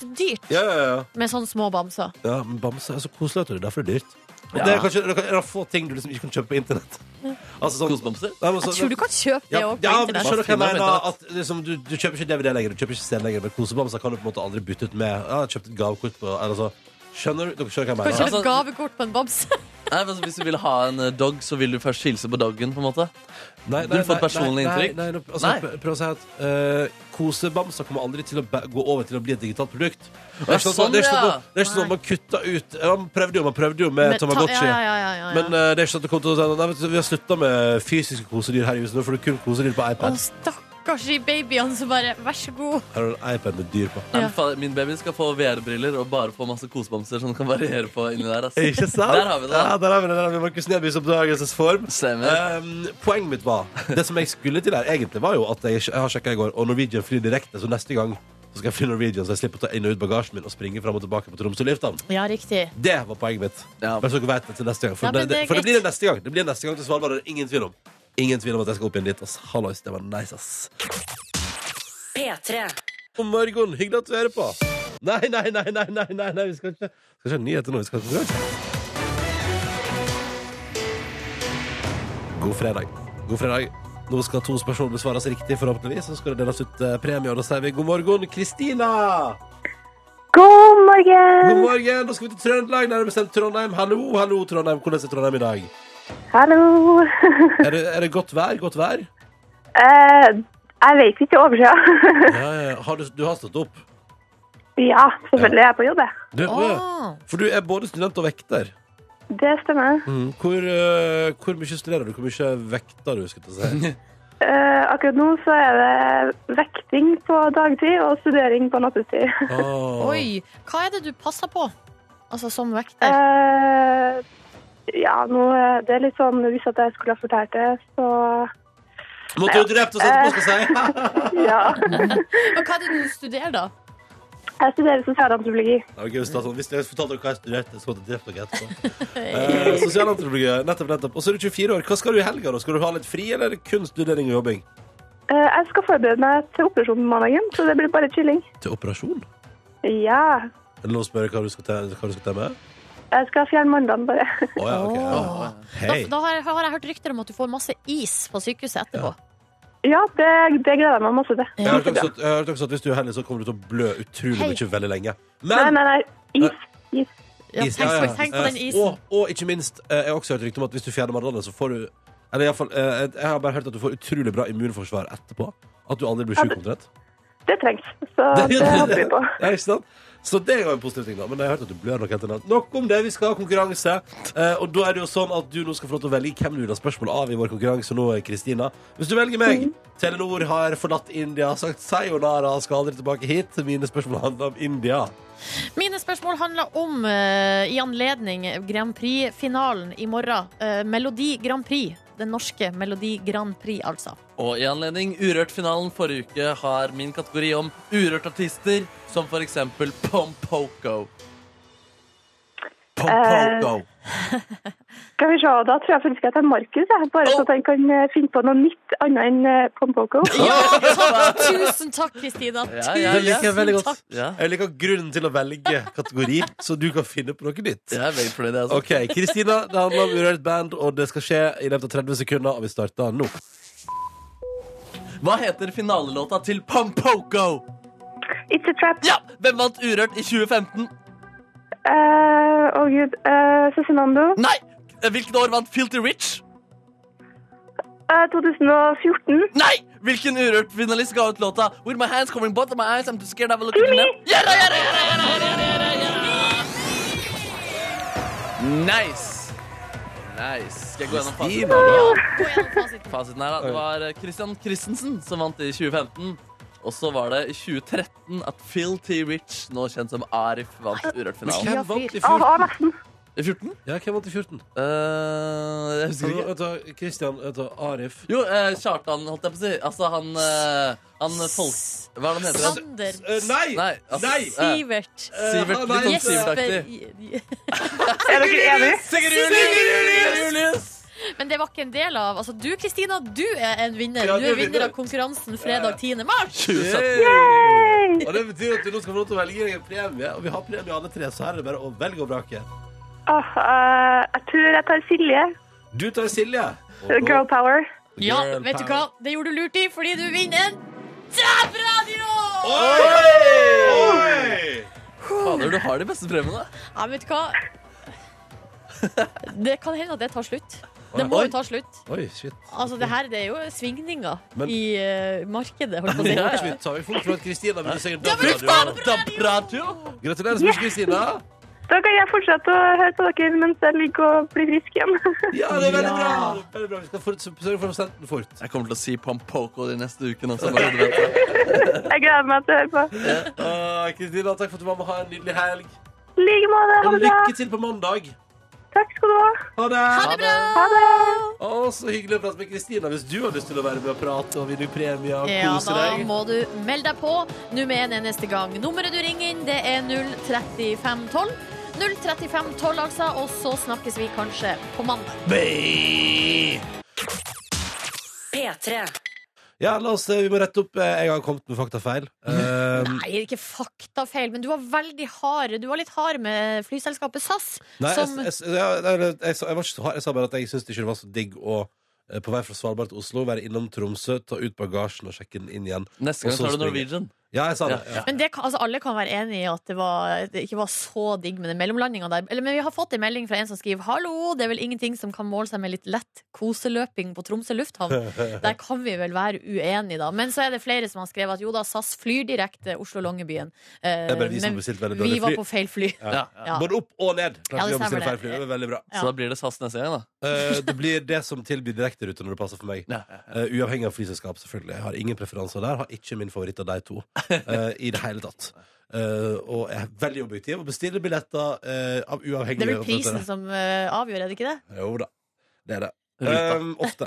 dritdyrt Ja, ja, ja. med sånne små bamser. ja men bamse er så koselig, vet du. Derfor er det dyrt. Og Ja. det er kanskje det er få ting du liksom ikke kan kjøpe på internett. Altså sånn Kosebamser? Nei, men så- Jeg tror du kan kjøpe det ja, òg på ja, men du internett. skjønner hva jeg Hva mener. finner du på At, liksom, du, du kjøper ikke DVD lenger, du kjøper ikke CD lenger, men kosebamser kan du på en måte aldri bytte ut med Ja, jeg kjøpte et gavekort på eller, altså, Skjønner du? Dere skjønner hva jeg Du kan mener? Kanskje- kjøpe Altså- et gavekort på en bamse. Nei, men altså, Hvis du vil ha en eh, dog, så vil du først hilse på doggen. på en måte Nei, Vil du få et nei, personlig inntrykk? Nei, nei, nå- altså, Nei. pr- Prøv å si at eh, kosebamser kommer aldri til å ba- gå over til å bli et digitalt produkt. Det Ja, er ikke sånn, det er ikke sånn, sånn, ja. det er ikke sånn at man kutta ut ja, Man prøvde jo, man prøvde jo med Med ta- Tamagotchi. Ja, ja, ja, ja, ja. Men eh, det er ikke sånn at du kom til å si Nei, vet du, vi har slutta med fysiske kosedyr her i huset. Nå får du kun kosedyr på Å, iPad. stakkars de babyene som bare Vær så god. Her har du en iPad med dyr på. Ja. Nei, men fader, Min baby skal få VR-briller og bare få masse kosebamser som kan variere på inni der. ass. Ikke sant? Der har vi det. Ja, der har vi det. Der har vi Markus Nebys oppdragelsesform. Stemmer. Um, poenget mitt var Det som jeg skulle til her egentlig var jo at jeg, jeg har sjekket i går, og Norwegian flyr direkte, så neste gang så skal jeg fly Norwegian, så jeg slipper å ta inn og ut bagasjen min og springe fram og tilbake på Tromsø lufthavn. Ja, riktig. Det var poenget mitt. Ja. Bare så dere vet det til neste gang. For, Ja, men det, det er for det blir greit. det neste gang. Det blir neste gang til Svalbard, det er ingen tvil om. Ingen tvil om at jeg skal opp igjen dit. Ass. Hallois, det var nice, ass. P3. God morgen, hyggelig at du hører på. Nei, nei, nei, nei, nei, nei, nei. vi skal ikke Skal ikke ha nyheter nå. Vi skal ha konkurranse. God fredag. God fredag. Nå skal to spørsmål besvares riktig, forhåpentligvis. Så skal det deles ut eh, premie, og da sier vi god morgen, Kristina! God God morgen! morgen! Nå skal vi til Trøndelag, nærmere bestemt Trondheim. Hallo, hallo, Trondheim. Hvordan er Trondheim i dag? Hallo! Er det, er det godt vær? Godt vær? Eh, jeg vet ikke overskya. Ja, ja. Har du, du har stått opp? ja, selvfølgelig er jeg på jobb. jeg. Du, ja. Å. For du er både student og vekter. Det stemmer. Hvor, eh, hvor mye studerer du? Hvor mye vekter du? skal jeg til å si? Eh, akkurat nå så er det vekting på dagtid og studering på nattestid. Ah. Oi. Hva er det du passer på? Altså som vekter? Eh, ja, nå eh, Det er litt sånn Hvis at jeg skulle ha fortalt det, så Måtte jo drept oss etterpå, skal jeg si. ja. Og hva er det du studerer, da? Jeg studerer sosialantropologi. Det var gøy å starte sånn. Hvis jeg fortalte dere hva jeg studerte, så hadde jeg drept dere etterpå. Eh, Sosialantropologi. Nettopp, nettopp. Og så er du 24 år. Hva skal du i helga, da? Skal du ha litt fri, eller er det kun studering og jobbing? Eh, Jeg skal forberede meg til operasjon på mandagen, så det blir bare chilling. Til operasjon? Ja. Er det lov å spørre hva du skal til, hva du skal til med? Jeg skal fjerne mandelen, bare. Å ja, OK. Ja. Åh. Da, Hei. da har, jeg- har jeg hørt rykter om at du får masse is på sykehuset etterpå. Ja, det, det gleder jeg meg masse til. Jeg har hørt også at- jeg har hørt også at hvis du er heldig, så kommer du til å blø utrolig Hei. mye veldig lenge. Nei, Men nei, nei. Is. Is. Ja, Is, tenk, ja, ja. tenk på den Eh, isen. Og, og ikke minst, eh, jeg har også hørt rykte om at hvis du fjerner mandlene, så får du Eller iallfall, eh, jeg har bare hørt at du får utrolig bra immunforsvar etterpå. At du aldri blir sjuk, omtrent. Det trengs, så det håper vi på. Ja, ikke sant? Så det er jo en positiv ting, da. Men jeg har hørt at du blør nok helt annet. Nok om det, vi skal ha konkurranse. Eh, og da er det jo sånn at du nå skal få lov til å velge hvem du vil ha spørsmål av i vår konkurranse nå, Kristina. Hvis du velger meg Mhm. Telenor har forlatt India, sagt sayonara, skal aldri tilbake hit. Mine spørsmål handler om India. Mine spørsmål handler om, eh, i anledning Grand Prix-finalen i morgen, eh, Melodi Grand Prix. Den norske Melodi Grand Prix, altså. Og i anledning Urørt-finalen forrige uke har min kategori om urørt-artister, som for eksempel Pompoko. Eh, Pompoko. Skal vi se, da tror jeg faktisk at det er Markus, jeg. Bare så at han kan eh, finne på noe nytt annet enn eh, Pompoko. Ja, takk! Tusen takk, Kristina. Ja, ja, Det ja. liker jeg veldig godt. Tusen takk. Ja, Jeg liker grunnen til å velge kategori, så du kan finne på noe nytt. jeg er veldig fornøyd. jeg, Altså. Ok, Kristina, det handler om Urørt Band, og det skal skje i løpet av 30 sekunder, og vi starter nå. Hva heter finalelåta til Pompoko? It's a trap. Ja! Hvem vant Urørt i 2015? Eh, Å gud. Uh, Cezinando. Nei! Hvilket år vant Filty Rich? Eh, 2014. Nei! Hvilken Urørt-finalist ga ut låta With my hands covering both of my eyes, I'm too scared of a look at Jimmy! them? Ja, ja, ja, ja, ja, ja, ja, ja, ja, ja. Nice. Nice. Skal jeg gå gjennom fasiten? Kristina, da. Gå gjennom fasiten. fasiten her, da. Det var eh, Christian Christensen som vant i 2015. Og så var det i 2013 at Phil T. Rich, nå kjent som Arif, vant Urørt-finalen. Ja, Hvem vant i fyr. Ah, 14? ah, nesten. I 14? Ja, hvem vant i 14? Eh, jeg husker ikke. Vet du, Kristian, vet du, Arif Jo, eh, Kjartan, holdt jeg på å si. Altså han eh, Han folk... Hva er det han heter? Han? Sander. Eh, Nei! Nei, altså, Nei! eh, Sivert. Sivert, Eh, litt sånn Jesper- Sivert-aktig. Jesper. Er dere enige? Sigurd Julius! Men det var ikke en del av Altså, du, Kristina, du er en vinner. Ja, Du det er er vinner av vinner. konkurransen fredag 10. mars. 2017. Yay! Og det betyr at du nå skal få lov til å velge deg en premie, og vi har premie alle tre, så her er det bare å velge og vrake. Ah, eh, jeg tror jeg tar Silje. Du tar Silje. Og da- Girl power. Ja, Girl vet du hva? power. Det gjorde du lurt i, fordi du vinner en DRAP-radio! Oi! Oi! Fader, du har de beste premiene. Ja, vet du hva? Det kan hende at det tar slutt. Det må Oi. jo ta slutt. Oi, shit. Altså, det her det er jo svingninger Men- i eh, markedet, holdt på Ja, å si. shit, tar vi fort fra at Kristina vil si en Ja, men dobbeltradio. faen! DAB-radio! Gratulerer så mye, Kristina. Da kan jeg fortsette å høre på dere mens jeg ligger og blir frisk igjen. Ja, det er veldig bra. Veldig bra. Vi skal fort- sørge for å sende den fort. Jeg kommer til å si Pompoko de neste ukene også. Bare, du vet det. Jeg gleder meg til å høre på. Ah, Kristina, takk for at du var med. Ha en nydelig helg. I like måte. Ha Og det bra. lykke til på mandag. Takk skal du ha. Ha det. Ha det bra! Ha det. Å, så hyggelig å prate med Kristina. Hvis du har lyst til å være med og prate og vinne premie og Ja, kose da deg. må du melde deg på. Nå med en eneste gang. Nummeret du ringer inn, det er 03512. 03512, altså. Og så snakkes vi kanskje på mandag. Mm. P3. Ja, la oss, eh, vi må rette opp. eh, Jeg har kommet med faktafeil. Um, Nei, ikke faktafeil, men du var veldig hard. Du var litt hard med flyselskapet SAS. Nei, jeg, som jeg, jeg, jeg, jeg, sa- jeg var ikke så hard. Jeg sa bare at jeg syns det ikke var så digg å eh, på vei fra Svalbard til Oslo, være innom Tromsø, ta ut bagasjen og sjekke den inn igjen. Neste Og gang så tar du springer. Norwegian. Ja, jeg sa det. Ja. Ja. Men det kan, altså alle kan være enig i at det, var, det ikke var så digg med den mellomlandinga der. Eller, men vi har fått en melding fra en som skriver Hallo, det er vel ingenting som kan måle seg med litt lett koseløping på Tromsø lufthavn. Der kan vi vel være uenige, da. Men så er det flere som har skrevet at jo da, SAS flyr direkte Oslo-Longyearbyen. Eh, Det er bare vi som men bestilte veldig vi dårlig var fly. på feil fly. Ja. Ja. Både opp og ned. Ja, Klarte vi det å bestille stemmer feil det. fly. Det var veldig bra. Ja. Så da blir det SAS neste gang, da. Eh, det blir det som tilbyr direkterute når det passer for meg. Ja. Eh, uavhengig av flyselskap, selvfølgelig. Jeg har ingen preferanser der. Har ikke min favoritt av de to eh, i det hele tatt. Eh, og jeg er veldig objektiv og bestiller billetter eh, av Det uavhengige er vel prisen operatører. som eh, avgjør, er det ikke det? Jo da. Det er det. Ruta. Um, ofte.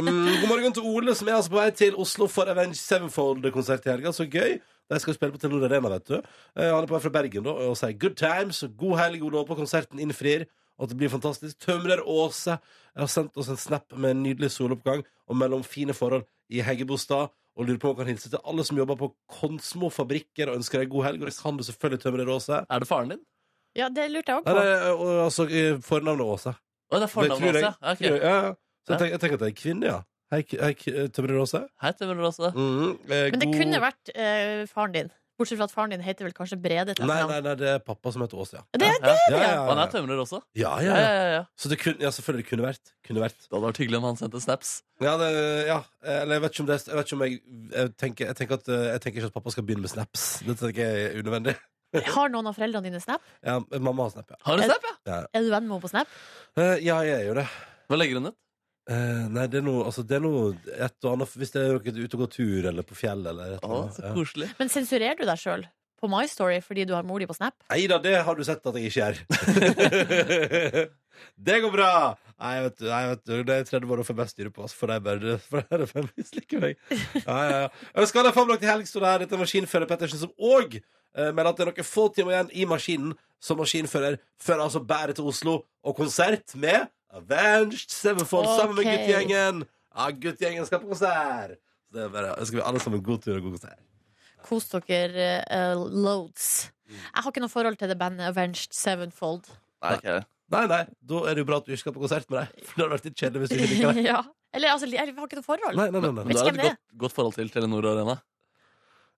Um, god morgen til Ole, som er altså på vei til Oslo for Avenge Sevenfold-konsert i helga. Så gøy. De skal spille på Telenor Arena, vet du. Eh, han er på vei fra Bergen da, og sier good times og god helg, Ole. Håper konserten innfrir, og at det blir fantastisk. Tømrer Åse har sendt oss en snap med en nydelig soloppgang og mellom fine forhold i Heggebostad. Og lurer på om han kan hilse til alle som jobber på Konsmo fabrikker og ønsker deg god helg. Og det kan du selvfølgelig, Tømrer Åse. Er det faren din? Ja, det lurte jeg òg Nei, på. det er, eh, altså eh, fornavnet Åse. Å, det er Det tror fornavnet jeg. hans, ja. Tror jeg, Ok. ja, ja. Så jeg Ja. tenker, jeg tenker at det er en kvinne, ja. Hei, k- hei k- Tømrer Åse. Hei, Tømmer Åse. Mm-hmm. Men det kunne vært eh, faren din. Bortsett fra at faren din heter vel kanskje Brede. til Nei, etternavn. nei, nei, det er pappa som heter Åse, ja. Det er Ja, ja. Ja, Og Han er tømrer også. ja, Ja, ja, ja, ja. ja, ja. Så det kunne, ja, selvfølgelig det kunne vært. Kunne vært. Det hadde vært hyggelig om han sendte snaps. Ja, det, ja. Eh, Eller jeg vet ikke om det Jeg, vet ikke om jeg, jeg, tenker, jeg, tenker at, eh, jeg tenker ikke at pappa skal begynne med snaps. Det tenker jeg er unødvendig. Eh, Har noen av foreldrene dine Snap? Ja, mamma har snap, ja. Har du Er- snap, ja? Er du venn med henne på Snap? Eh, Ja, jeg er jo det. Hva legger hun ut? Eh, nei, det er noe altså, det er noe et og annet Hvis det er noe ute og går tur, eller på fjell, eller et Å, eller annet. så Ja. koselig. Men sensurerer du deg sjøl på My Story fordi du har mor di på Snap? Nei da, det har du sett at jeg ikke gjør. det går bra! Nei, vet du, nei, vet du det er tredje måned for best styre på, altså, for det er bare for det er bare misliker meg. Ja, ja, ja. Ønsker alle framlagt i helg, så det er dette er maskinfører Pettersen, som òg eh, melder at det er noen få timer igjen i maskinen som maskinfører, før altså bærer til Oslo og konsert med Avenged Sevenfold sammen med Ok. guttegjengen. Ja, guttegjengen skal på konsert! Så det er bare, ønsker vi alle sammen god tur og god konsert. Kos dere eh, loads. Mm. Jeg har ikke noe forhold til det bandet Avenged Sevenfold. Nei, ok. Nei, nei, da er det jo bra at du ikke skal på konsert med deg. For det hadde vært litt kjedelig hvis du ikke liker det. ja. Eller altså, jeg har ikke noe forhold. Nei, nei, nei, nei. Men du har hvem et det er? godt, godt forhold til Telenor Arena.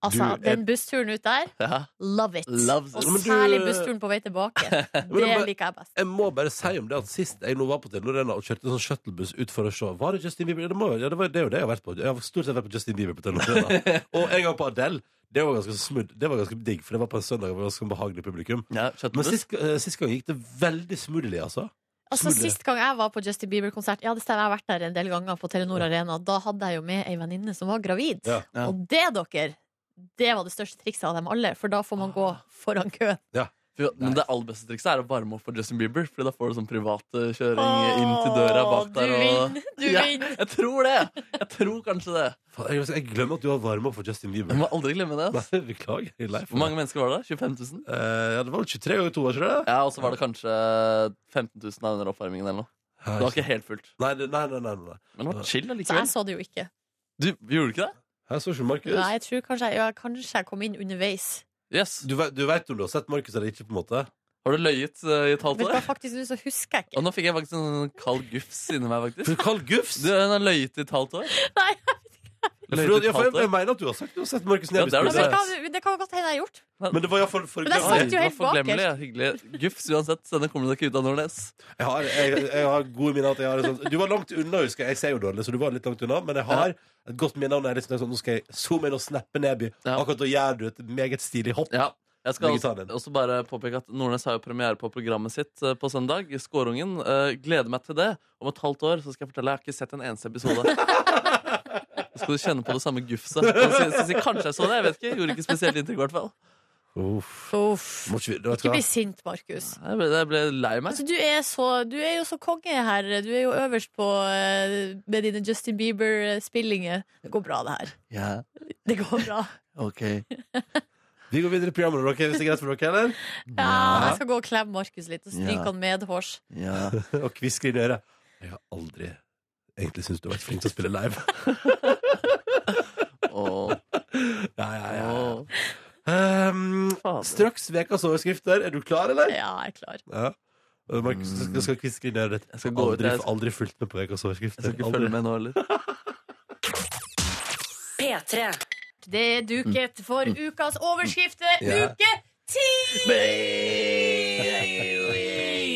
Altså, Du er- Den bussturen ut der, Ja. love it. Loves Og it. Men du- særlig bussturen på vei tilbake. Det men- liker jeg best. Jeg må bare si om det at sist jeg nå var på Telenor Arena og kjørte en sånn shuttlebuss ut for å se Var det Justin Bieber? Det, må, ja, det, var, det er jo det jeg har vært på. Jeg har stort sett vært på Justin Bieber på Telenor Arena. Og en gang på Adele. Det var ganske smooth. Det var ganske digg, for det var på en søndag. Det var ganske behagelig publikum. Ja, Men kjøttbuss. sist, eh, sist gang gikk det veldig smoothly, altså. Altså, Smoothie. Sist gang jeg var på Justin Bieber-konsert, Ja, det stemmer, jeg har vært der en del ganger på Telenor Arena, da hadde jeg jo med ei venninne som var gravid. Ja, ja. Og det, dere, det var det største trikset av dem alle, for da Ah. får man gå foran køen. Fy- Men det aller beste trikset er å varme opp for Justin Bieber. Fordi da får du sånn privat eh, kjøring eh, inn til døra bak der. Du Og... vinner! Du Ja. vinner! Jeg tror det! Jeg tror kanskje det. Faen, Jeg, jeg glemmer at du har varma opp for Justin Bieber. Jeg må aldri glemme det. ass. Nei, beklager. Jeg er lei Hvor for det. mange mennesker var det? 25 000? Eh, ja, det var vel 23 ganger to, var ikke det? Ja, Og så var det kanskje 15 000 av under oppvarmingen eller noe. Det var ikke helt fullt. Nei, det- nei, nei. nei, nei. Men det var chill Så jeg allikevel. så det jo ikke. Du gjorde ikke det? Her står ikke Markus. Nei, jeg tror kanskje jeg, ja, kanskje jeg kom inn underveis. Yes. Du, vet- du veit om du har sett Markus eller ikke, på en måte? Har du løyet eh, i et halvt Vet du år? hva, faktisk nå så husker jeg Og ikke. nå fikk jeg faktisk en kald gufs inni meg, faktisk. For Carl Gufs! Du hun har løyet i et halvt år. Nei, For, Løyet i ja, et for jeg, halvt jeg år. mener at du har sagt du har sett Markus Ja, Neby det er Nei, du spille men det sa. seg. kan, det kan godt hende jeg har gjort. Men det var iallfall for Men det er Oi, satt jeg, jo det helt var bakerst. forglemmelig, ja. Hyggelig. Gufs uansett, så denne kommer du deg ikke ut av Nordnes. har, jeg, jeg har gode minner at jeg har en sånn Du var langt unna, husker jeg. Jeg ser jo dårlig, så du var litt langt unna. Men jeg har et godt minne om det. er Liksom, sånn, nå skal jeg zoome inn og snappe Neby. Ja. Akkurat da gjør du et meget stilig hopp. Ja. Jeg skal Ligge også, sammen. også bare påpeke at Nordnes har jo premiere på programmet sitt eh, på søndag. Skårungen. Eh, gleder meg til det. Om et halvt år så skal jeg fortelle Jeg har ikke sett en eneste episode. Da skal du kjenne på det samme gufset. Jeg skal- skal si, Kanskje jeg så det. jeg vet ikke Gjorde ikke spesielt inntrykk, i hvert fall. Uff. Uff. Må ikke, vi- vet du Ikke hva? bli sint, Markus. Jeg ble, jeg ble lei meg. Altså, du, er så, du er jo så konge her. Du er jo øverst på eh, med dine Justin Bieber-spillinger. Det går bra, det her. Ja, Det går bra. ok Vi går videre i programmet, dere, hvis det er greit for dere, eller? Ja, jeg skal gå og klemme Markus litt og stryke Ja. han medhårs. ja. Og kvisker inn i øret. Jeg har aldri egentlig syntes du har vært flink til å spille live. Åh, Ja, ja, ja. åh. Um, Fader. straks vekas overskrifter. Er du klar, eller? Ja, jeg er klar. Ja. Og Markus du skal, skal kviskre ned litt. Jeg skal gå ut, aldri, jeg skal- aldri fulgt med på ukas overskrifter. Jeg skal ikke Aldri. følge med nå heller. P3. Det er duket for ukas overskrifter. Ja. Uke ti!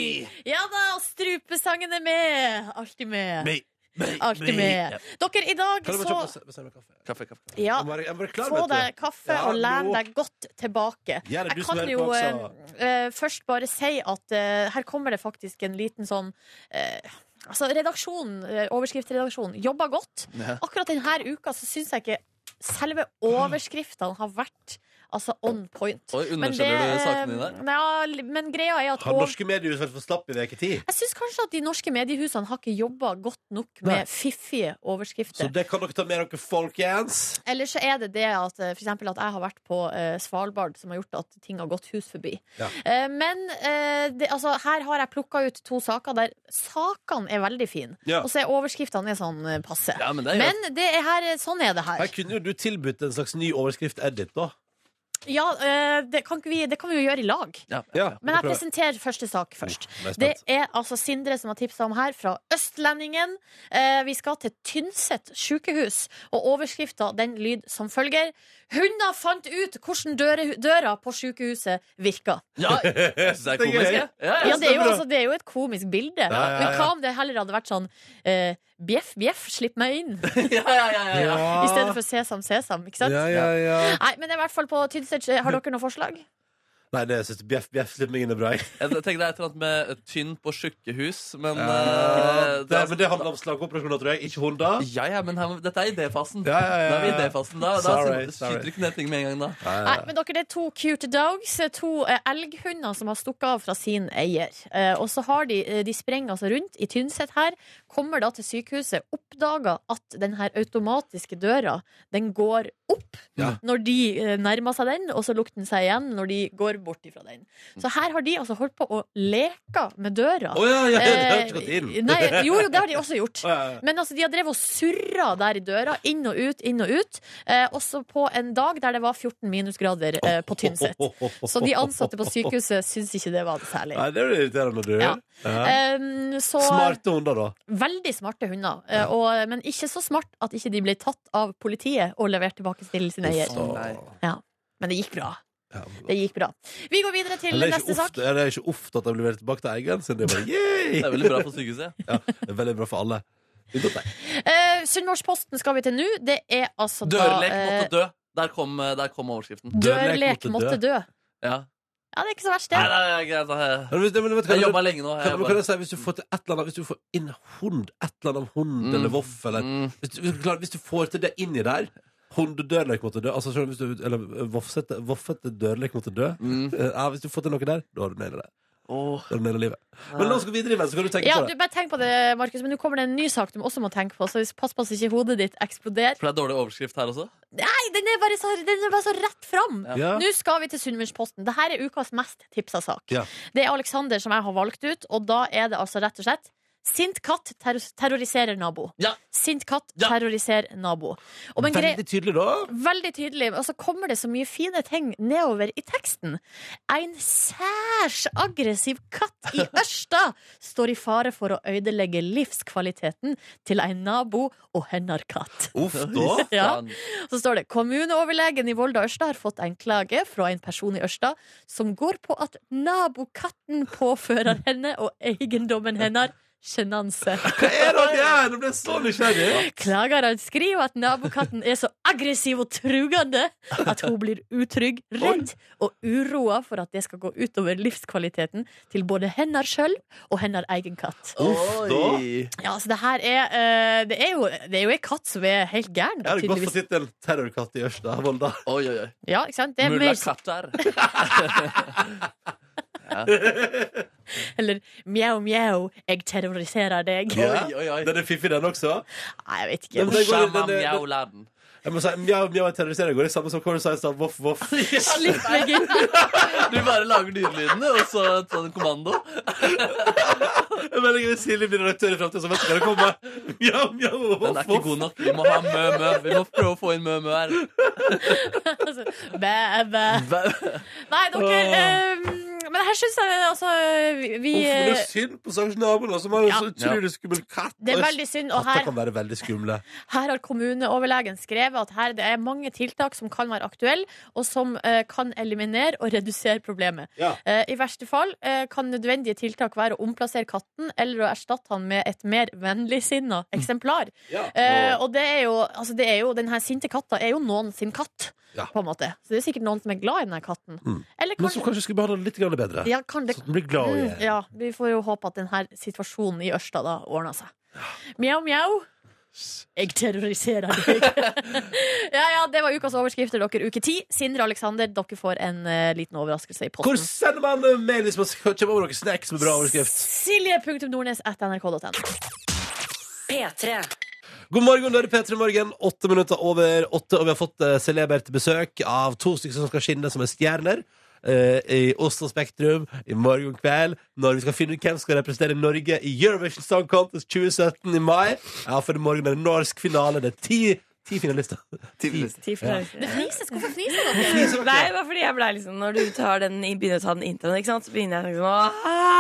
Ja da, og strupesangen er med. Alltid med. Nei, nei, Alltid nei. med. Dere, i dag Kan du bare så kjøpe oss- bestemme kaffe? Kaffe, kaffe, kaffe. Ja, Jeg må være- jeg må være klar, Få vet du. deg kaffe Ja, og len nå. deg godt tilbake. Ja, det er du Jeg som kan hører jo på, eh, altså. eh, først bare si at eh, her kommer det faktisk en liten sånn eh, Altså, redaksjonen, eh, overskriftredaksjonen, jobber godt. Ja. Akkurat denne uka så syns jeg ikke selve overskriftene har vært Altså on point. Oi, underkjenner du sakene dine? Nei, eh, ja, li- men greia er at Har over- norske mediehus vært for slapp i uketid? jeg syns kanskje at de norske mediehusene har ikke jobba godt nok med Nei. fiffige overskrifter. Så det kan dere ta med dere, folkens. Eller så er det det at eh, for eksempel at jeg har vært på eh, Svalbard, som har gjort at ting har gått hus forbi. Ja. Eh, men eh, det, altså, her har jeg plukka ut to saker der sakene er veldig fine, Ja. og så er overskriftene er sånn eh, passe. Ja, men det er jo- Men det er her, sånn er det her. Her kunne jo du tilbudt en slags ny overskrift-edit, da. Ja, eh, det, kan ikke vi, det kan vi jo gjøre i lag. Ja. Men jeg prøver. presenterer første sak først. Nå er jeg Det spent. er altså Sindre som har tipsa om her, fra Østlendingen. Eh, vi skal til Tynset sykehus, og overskrifta den lyd som følger. Hunder fant ut hvordan døre, døra på sykehuset virka. Ja, jeg synes det er Det er komisk. gøy. jeg. Ja, Ja, ja. det er, jo, stemmer. altså, det er jo et komisk bilde. ja, ja. Men hva om det heller hadde vært sånn eh, Bjeff, bjeff, slipp meg inn. ja, ja, ja, ja, ja. I stedet for sesam, sesam. Ikke sant? ja, ja, ja. Nei, men det er i hvert fall på Tynset. eh, Har dere noe forslag? Nei, det syns Bjeff Bjeff slipper meg inn i bra. jeg. Jeg tenker det er et eller annet med eh, tynn på tjukkehus, men eh, Det, er- men det handler om slagoperasjoner, tror jeg. Ikke hunder. Ja, ja, men her, dette er idéfasen. Ja, ja, ja, Da er vi i ja. idéfasen. Da, da Sorry, sorry. skyter du ikke ned ting med en gang, da. Eh. Nei, men dere, det er to cute dogs, to eh, elghunder som har stukket av fra sin eier. Eh, og så har de, eh, de sprenger altså rundt i Tynset her, kommer da til sykehuset, oppdager at den her automatiske døra, den går opp Ja. når de eh, nærmer seg den, og så lukter den seg igjen når de går bort ifra den. Så her har de altså holdt på å leke med døra. Å ja, ja, det har Eh, ikke gått inn. nei, jo, jo, det har de også gjort. Å, ja, ja. Men altså, de har drevet og surra der i døra, inn og ut, inn og ut. Eh, også på en dag der det var 14 minusgrader eh, på Tynset. Så de ansatte på sykehuset syns ikke det var særlig. Nei, det er jo irriterende, du. Ja. Ja. Um, så Smarte hunder, da. veldig smarte hunder, eh, og, men ikke så smart at ikke de ble tatt av politiet og levert tilbake til sin eier. Uff, da. Nei. Ja. Men det gikk bra. Ja. Det gikk bra. Vi går videre til Eller det er ikke neste ofte- sak. eller det er ikke ofte at de blir levert tilbake til eieren sin. Det er bare Det er yay! veldig bra på sykehuset. Ja, det er veldig bra for alle. Unntatt deg. Eh, Sunnmørsposten skal vi til nå. Det er altså da Dørlek eh, måtte dø. Der kom, eh, der kom overskriften. Dørlek måtte dø. Ja. Ja, det er ikke så verst, det. Nei, nei, nei, greit. da. Jeg- Men hvis- men vet du hva, Jeg du- jobba lenge nå. Jeg kan- men kan jeg jobba. si, hvis du får til et eller annet Hvis du får inn hund, et eller annet hund Mm. eller voff eller Mm. hvis du, hvis du klarer- hvis du får til det inni der Hundedørlek måtte dø. Altså, selv om hvis du, eller eh, voffsete, voffete dørlek måtte dø. Mm. Eh, Ja, hvis du får til noe der, da har du naila det. Åh. Da har du nailet livet. Men la oss gå videre, Ivan, så kan du tenke Ah. Ja, på du det. bare tenk på det, Markus, men nå kommer det en ny sak du også må tenke på, så pass på så ikke hodet ditt eksploderer. For det er dårlig overskrift her også? Nei, den er bare så, den er bare så rett fram! Ja. Ja. Nå skal vi til Sunnmørsposten. Dette er ukas mest tipsa sak. Ja. Det er Aleksander som jeg har valgt ut, og da er det altså rett og slett Sint katt terro- terroriserer nabo. Ja. Sint katt Ja. terroriserer nabo. Og men grei- Veldig tydelig, da. Veldig tydelig. Og så kommer det så mye fine ting nedover i teksten. En særs aggressiv katt i Ørsta står i fare for å ødelegge livskvaliteten til en nabo og hennes katt. Uff, da. Ja. Så står det kommuneoverlegen i Volda Ørsta har fått en klage fra en person i Ørsta som går på at nabokatten påfører henne og eiendommen hennes sjenanse. Hva er det her? Nå ble jeg så nysgjerrig. Klageren skriver at nabokatten er så aggressiv og trugende at hun blir utrygg, redd og uroa for at det skal gå utover livskvaliteten til både henne sjøl og hennes egen katt. Uff, da. Ja, så det her er, eh, det er jo, det er jo ei katt som er helt Jeg gæren, da, hadde godt tydeligvis. fått sitte en terrorkatt i Ørsta, Volda. Oi, oi, oi. Ja, ikke sant? Det er Mulla mer, Katt der. eller mjau, mjau, jeg terroriserer deg. Ja. Oi, oi, oi. Den er fiffig, den også. Nei, jeg vet Ja, ikke. men det går- Shama den- den- mjau laden. Jeg må si mjau, mjau, jeg terroriserer. Går det samme som Kåre Seistad, voff, voff. Slipp meg inn. Du bare lager dyrelydene, og så tar du en kommando. Jeg mener, jeg vil Silje blir redaktør i fremtiden, så vet du hva det kommer. Mjau, mjau, Den voff, er ikke voff. god nok. Vi må ha mø, mø. Vi må prøve å få inn mø, mø her. Altså, Bæ, bæ. Nei, dere eh, Men her syns jeg altså vi- Vi Uff, men det eh, er synd på stakkars naboen, som har en Ja. så utrolig skummel katt. Det er veldig synd, og Katter her kan være veldig skumle. Her har kommuneoverlegen skrevet at her det er mange tiltak som kan være aktuelle, og som eh, kan eliminere og redusere problemet. Ja. Eh, I verste fall eh, kan nødvendige tiltak være å omplassere katten eller å erstatte han med et mer vennligsinna eksemplar. Mm. Ja. Eh, og det er jo, altså det er jo, den her sinte katta er jo noen sin katt, Ja. på en måte. Så det er sikkert noen som er glad i den her katten. Mm. Eller Men som kanskje, kanskje skulle behandle den litt grann bedre. ja, kan det, Så den blir glad mm, igjen. ja, vi får jo håpe at denne situasjonen i Ørsta da ordner seg. Mjau, mjau. Jeg terroriserer deg. ja, ja, det var ukas overskrifter, dere. Uke ti. Sindre og Aleksander, dere får en eh, liten overraskelse i Hvor posten. sender man eh, mail hvis man skal kjøpe over noen snacks med bra overskrift? Silje.nordnes.nrk.no. P3. God morgen, dere P3 Morgen. Åtte minutter over åtte, og vi har fått eh, celebert besøk av to stykker som skal skinne som er stjerner. eh, I Oslo Spektrum i morgen kveld, når vi skal finne ut hvem som skal representere Norge i Eurovision Song Contest 2017 i mai. Ja, for i morgen er det norsk finale. Det er ti, ti finalister. Ti forskjellige. Det fnises. Hvorfor fniser dere? Nei, bare fordi jeg ble liksom Når du tar den, begynner å ta den introen, ikke sant? så begynner jeg liksom «Åh!»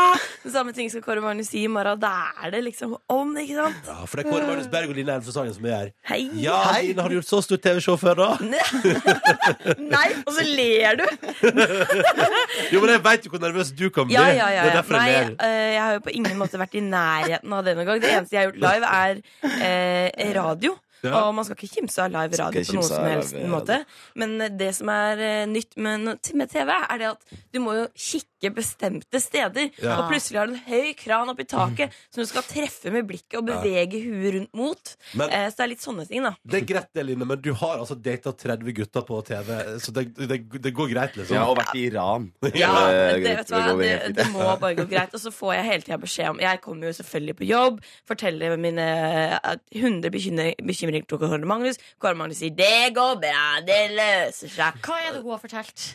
Det samme ting skal Kåre Magnus si i morgen. Da er det liksom om, ikke sant? Ja, for det er Kåre Magnus Berg og Line Elfesangen som er her. Hei! Ja, Line, har du gjort så stort TV-show før, da? Nei, og så ler du! Jo, men jeg veit jo hvor nervøs du kan bli. Ja, ja, Det ja. er ja. derfor Nei, jeg ler. eh, jeg har jo på ingen måte vært i nærheten av det noen gang. Det eneste jeg har gjort live, er eh, radio. Ja. Og man skal ikke kimse av live radio ikke på noen kimse av som helst live måte. Men eh, det som er eh, nytt med, no- med TV, er det at du må jo kikke bestemte steder. Ja. Og plutselig har du en høy kran oppi taket som du skal treffe med blikket og bevege huet rundt mot. Men- Eh, så det er litt sånne ting, da. Det er greit, det, Line, men du har altså data 30 gutter på TV, så det, det, det går greit, liksom. Ja, og vært i Iran. Ja, Eh, men det, vet du hva, går det, helt fint. det må bare gå greit. Og så får jeg hele tida beskjed om Jeg kommer jo selvfølgelig på jobb, forteller mine eh, 100 bekymring- bekymringer til Kåre Magnus. Kåre Magnus sier 'det går bra, det løser seg'. Hva er det hun har fortalt?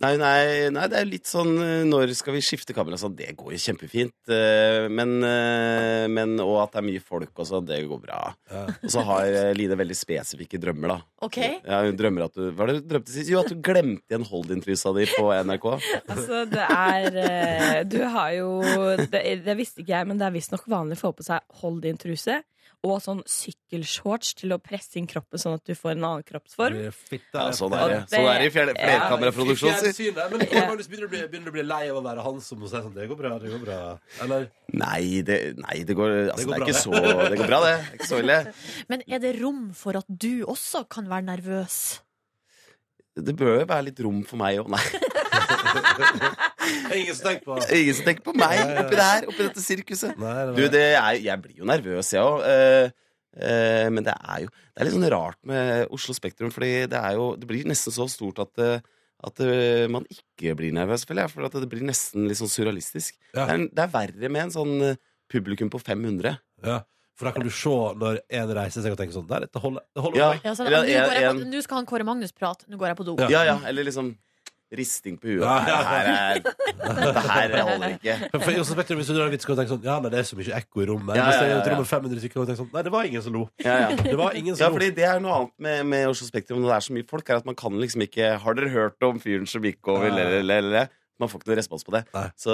Nei, nei, nei, det er litt sånn eh, Når skal vi skifte kamera? Sånn, det går jo kjempefint. eh, Men, eh, men Og at det er mye folk og sånn. Det går bra. Og så har eh, Line veldig spesifikke drømmer, da. OK? Ja, hun drømmer at du Hva var det du drømte sist? Jo, at du glemte igjen Holdin-trusa di på NRK. Altså, det er eh, Du har jo Det, det visste ikke jeg, men det er visstnok vanlig å få på seg hold din truse og sånn sykkelshorts til å presse inn kroppen sånn at du får en annen kroppsform. Fitta, Ja, sånn er det. Og det- Sånn er det i fler- flerkameraproduksjon. Fikk si. fjernsyn, nei, Men Kåre Magnus begynner å, bli, begynner å bli lei av å være han som sier sånn Det går bra, det går bra. Eller Nei, det, nei, det går Altså, går bra, det, er ikke så det. Det går bra, det. Det er ikke så ille. Men er det rom for at du også kan være nervøs? Det bør jo være litt rom for meg òg. Nei, Det er ingen som tenker på det er ingen som tenker på meg oppi det her, oppi dette sirkuset. Nei, nei, Du, nei. det er, jeg blir jo nervøs, jeg òg. men det er jo Det er litt sånn rart med Oslo Spektrum, fordi det er jo Det blir nesten så stort at eh, at eh, man ikke blir nervøs, føler jeg. For at det blir nesten litt sånn surrealistisk. Ja. Det, er, det er verre med en sånn eh, publikum på 500. Ja. For da kan du se når en reiser seg og tenker sånn Der, dette holder. Det holder Ja, for meg. Ja, sånn, eller «Nå går jeg en- på- Nå skal han Kåre Magnus prate, nå går jeg på do. ja, ja, eller liksom risting på huet. Ja, ja. Nei, Det her, er, det her holder ikke. For, for i Oslo Spektrum, hvis du drar en vits og tenker sånn Ja, nei, det er så mye ekko i rommet. Ja, Hvis ja, det er ja, et ja. rom med 500 stykker og tenker sånn Nei, det var ingen som lo. Ja, ja. Det var ingen Ja, som lo. fordi det er noe annet med, med Oslo Spektrum når det er så mye folk, er at man kan liksom ikke Har dere hørt om fyren som gikk over, Ja. eller, eller, eller? Man får ikke noe respons på det. Nei. Så,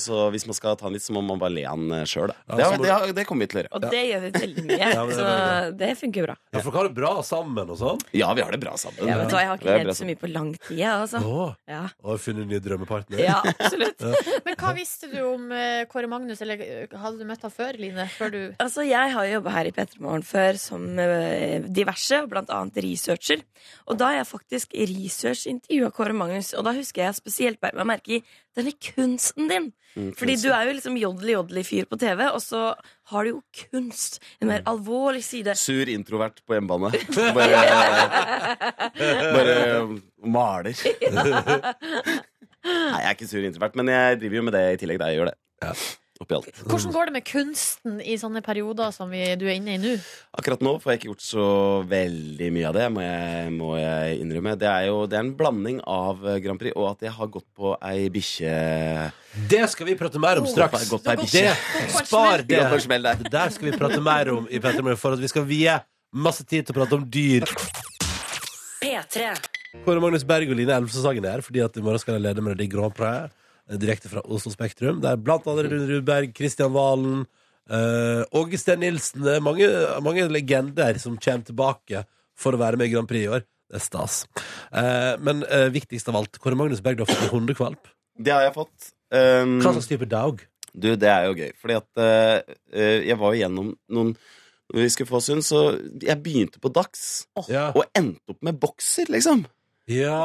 så hvis man skal ta han litt, så må man bare le han sjøl, da. Ja, det, så må har- det, har- det kommer vi til å gjøre. Og det gjør vi veldig mye, Ja, men det er så veldig det funker bra. Ja, for dere har det bra sammen og sånn. Ja, vi har det bra sammen. Ja, vet du hva, jeg har Det ikke er bra ledd så mye på lang tid, jeg, altså. Å, Ja. og har funnet nye drømmepartnere. ja, absolutt. Men hva visste du om eh, Kåre Magnus, eller eh, hadde du møtt han før, Line? Før du Altså, Jeg har jo jobba her i P3 Morgen før som eh, diverse, og blant annet researcher. Og da har jeg faktisk researchintervjua Kåre Magnus, og da husker jeg spesielt beit meg merke i denne kunsten din. Mm, Fordi tusen. du er jo liksom jodeli-jodeli-fyr på TV, og så har du jo kunst. En mer alvorlig side. Sur introvert på hjemmebane. Bare, bare eh, maler. Nei, jeg er ikke sur introvert, men jeg driver jo med det i tillegg. Da jeg gjør det. Oppi alt. Hvordan går det med kunsten i sånne perioder som vi, du er inne i nå? Akkurat nå får jeg ikke gjort så veldig mye av det, må jeg, må jeg innrømme. Det er jo det er en blanding av eh, Grand Prix og at jeg har gått på ei bikkje Det skal vi prate mer om straks. Gått på ei bikkje. Det, spar Gått på det. en smell der. Det der skal vi prate mer om i Petter Morgen, for at vi skal vie masse tid til å prate om dyr. P3. Kåre Magnus Berg og Line Elvsåssagen er her, fordi at i morgen skal jeg lede Melodi Grand Prix eh, direkte fra Oslo Spektrum. Det er blant andre Rune Rudberg, Kristian Valen, eh, Åge Steen Nilsen. Det er mange, mange legender som kommer tilbake for å være med i Grand Prix i år. Det er stas. Eh, men eh, viktigst av alt, Kåre Magnus Berg, du har fått en hundekvalp. Det har jeg fått. Um, Hva slags type dog? Du, det er jo gøy. Fordi at eh, eh, jeg var jo gjennom noen Når vi skulle få oss hund, så jeg begynte på Dags. Ja. Og endte opp med bokser, liksom. Ja. Ja.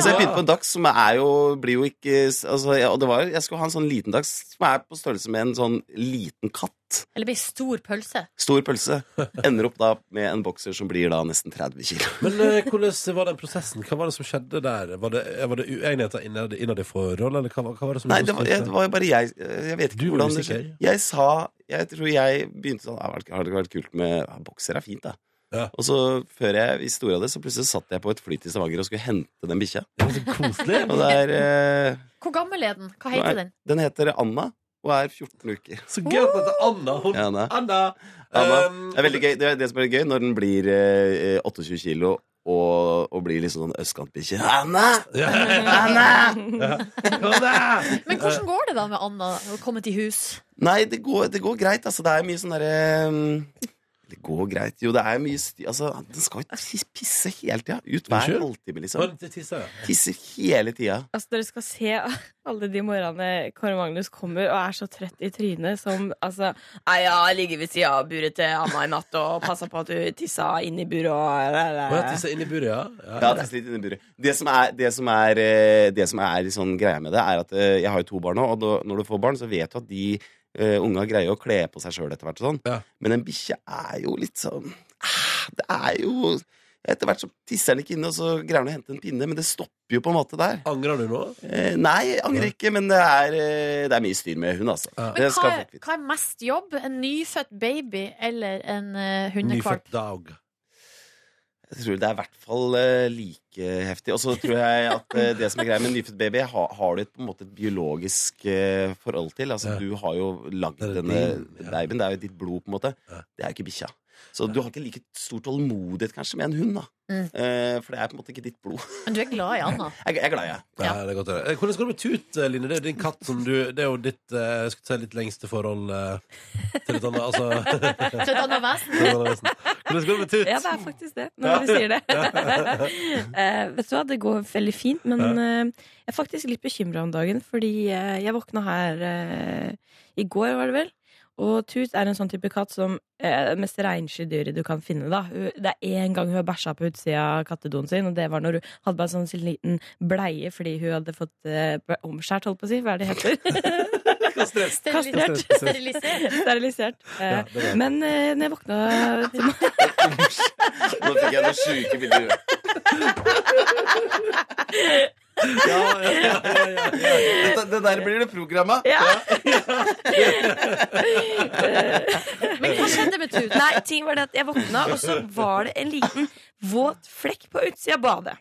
Altså, jeg begynte på en dags som er jo, blir jo ikke altså, jeg, Og det var, jeg skulle ha en sånn liten dags som er på størrelse med en sånn liten katt. Eller blir stor pølse. Stor pølse. Ender opp da med en bokser som blir da nesten 30 kilo. Men eh, hvordan var den prosessen? Hva var det som skjedde der? Var det, var det uenigheter innad, innad i forholdet, eller hva, var- hva var det som Nei, det var, jeg, skjedde? det var jo bare jeg Jeg vet ikke Du var hvordan det usikker. skjedde. Jeg sa Jeg tror jeg begynte sånn «Ah, Har det vært kult med ja, Bokser er fint, da. Ja. Og så før jeg visste ordet av det, så plutselig satt jeg på et fly til Stavanger og skulle hente den bikkja. Koselig. Og der, eh, Hvor gammel er den? Hva Nei. heter den? den heter Anna og er 14 uker. Så gøy at det heter Anna. Hun, Ja, Anna. Anna. Anna. Um, Det er veldig gøy. Det, er det som er gøy, når den blir eh, 28 kilo og, og blir liksom sånn østkantbikkje. Anna! Ja. Anna! Anna! Men eh, hvordan går det da med Anna å komme til hus? Nei, det går, det går greit. Altså, det er mye sånn derre ehm, Det går greit. Jo, det er mye sti... Altså, den skal jo tis- pisse hele tida. Ut hver Unnskyld? halvtime, liksom. Var det tissa, ja? Tisser hele tida. Altså, dere skal se alle de morgenene Kåre Magnus kommer og er så trøtt i trynet som altså Nei, ja, jeg ligger ved sida av buret til Anna i natt og passa på at du tissa inn i buret Var det og tissa inni buret, ja? Ja, tisser litt inni buret. Det som er, det som er, eh, det som er sånn greia med det, er at eh, jeg har jo to barn nå, og da, når du får barn, så vet du at de eh, unga greier å kle på seg sjøl etter hvert og sånn. Ja. Men en bikkje er jo litt sånn ah, Det er jo Etter hvert så tisser den ikke inne, og så greier den å hente en pinne, men det stopper jo på en måte der. Angrer du nå? Eh, nei, jeg angrer ikke, men det er, eh, det er mye styr med hund, altså. Ja. Det Men hva skal er, folk vite. hva er mest jobb? En nyfødt baby eller en eh, hundekvalp? Nyfødt dog. Jeg tror det er i hvert fall eh, like heftig. Og så tror jeg at eh, det som er greia med en nyfødt baby, har, har du et, på en måte et biologisk eh, forhold til. Altså, Ja. Du har jo lagd Det er denne din, ja. babyen. Det er jo ditt blod, på en måte. Ja. Det er jo ikke bikkja. Så du har ikke like stor tålmodighet kanskje med en hund, da. Mm. Eh, for det er på en måte ikke ditt blod. Men du er glad i Anna. Jeg, jeg er glad i henne. Ja. det er godt å høre. Eh, Hvordan går det med Tut, eh, Line? Det er jo din katt som du Det er jo ditt eh, jeg skulle si litt lengste forhold eh, til et annet altså, Til et annet vesen. til et annet vesen. Hvordan går det med Tut? Ja, det er faktisk det, når du sier det. Eh, vet du hva, det går veldig fint, men eh, jeg er faktisk litt bekymra om dagen, fordi eh, jeg våkna her eh, i går, var det vel. Og Tut er en sånn type katt som eh, er det mest reinsky dyret du kan finne. da Hun- Det er én gang hun har bæsja på utsida av kattedoen sin, og det var når hun hadde bare en sånn liten bleie fordi hun hadde fått eh, omskjært, holdt på å si. Hva er det det heter? Kastrert. Steril- Kastrert. Sterilisert. Sterilisert. Eh, Ja, det var det. men eh, når jeg våkna til Nå fikk jeg noen sjuke bilder. Ja, ja, ja, ja, ja. Dette- Det der blir det programma. Men hva skjedde med Tut? Nei, ting var det at jeg våkna, og så var det en liten våt flekk på utsida av badet.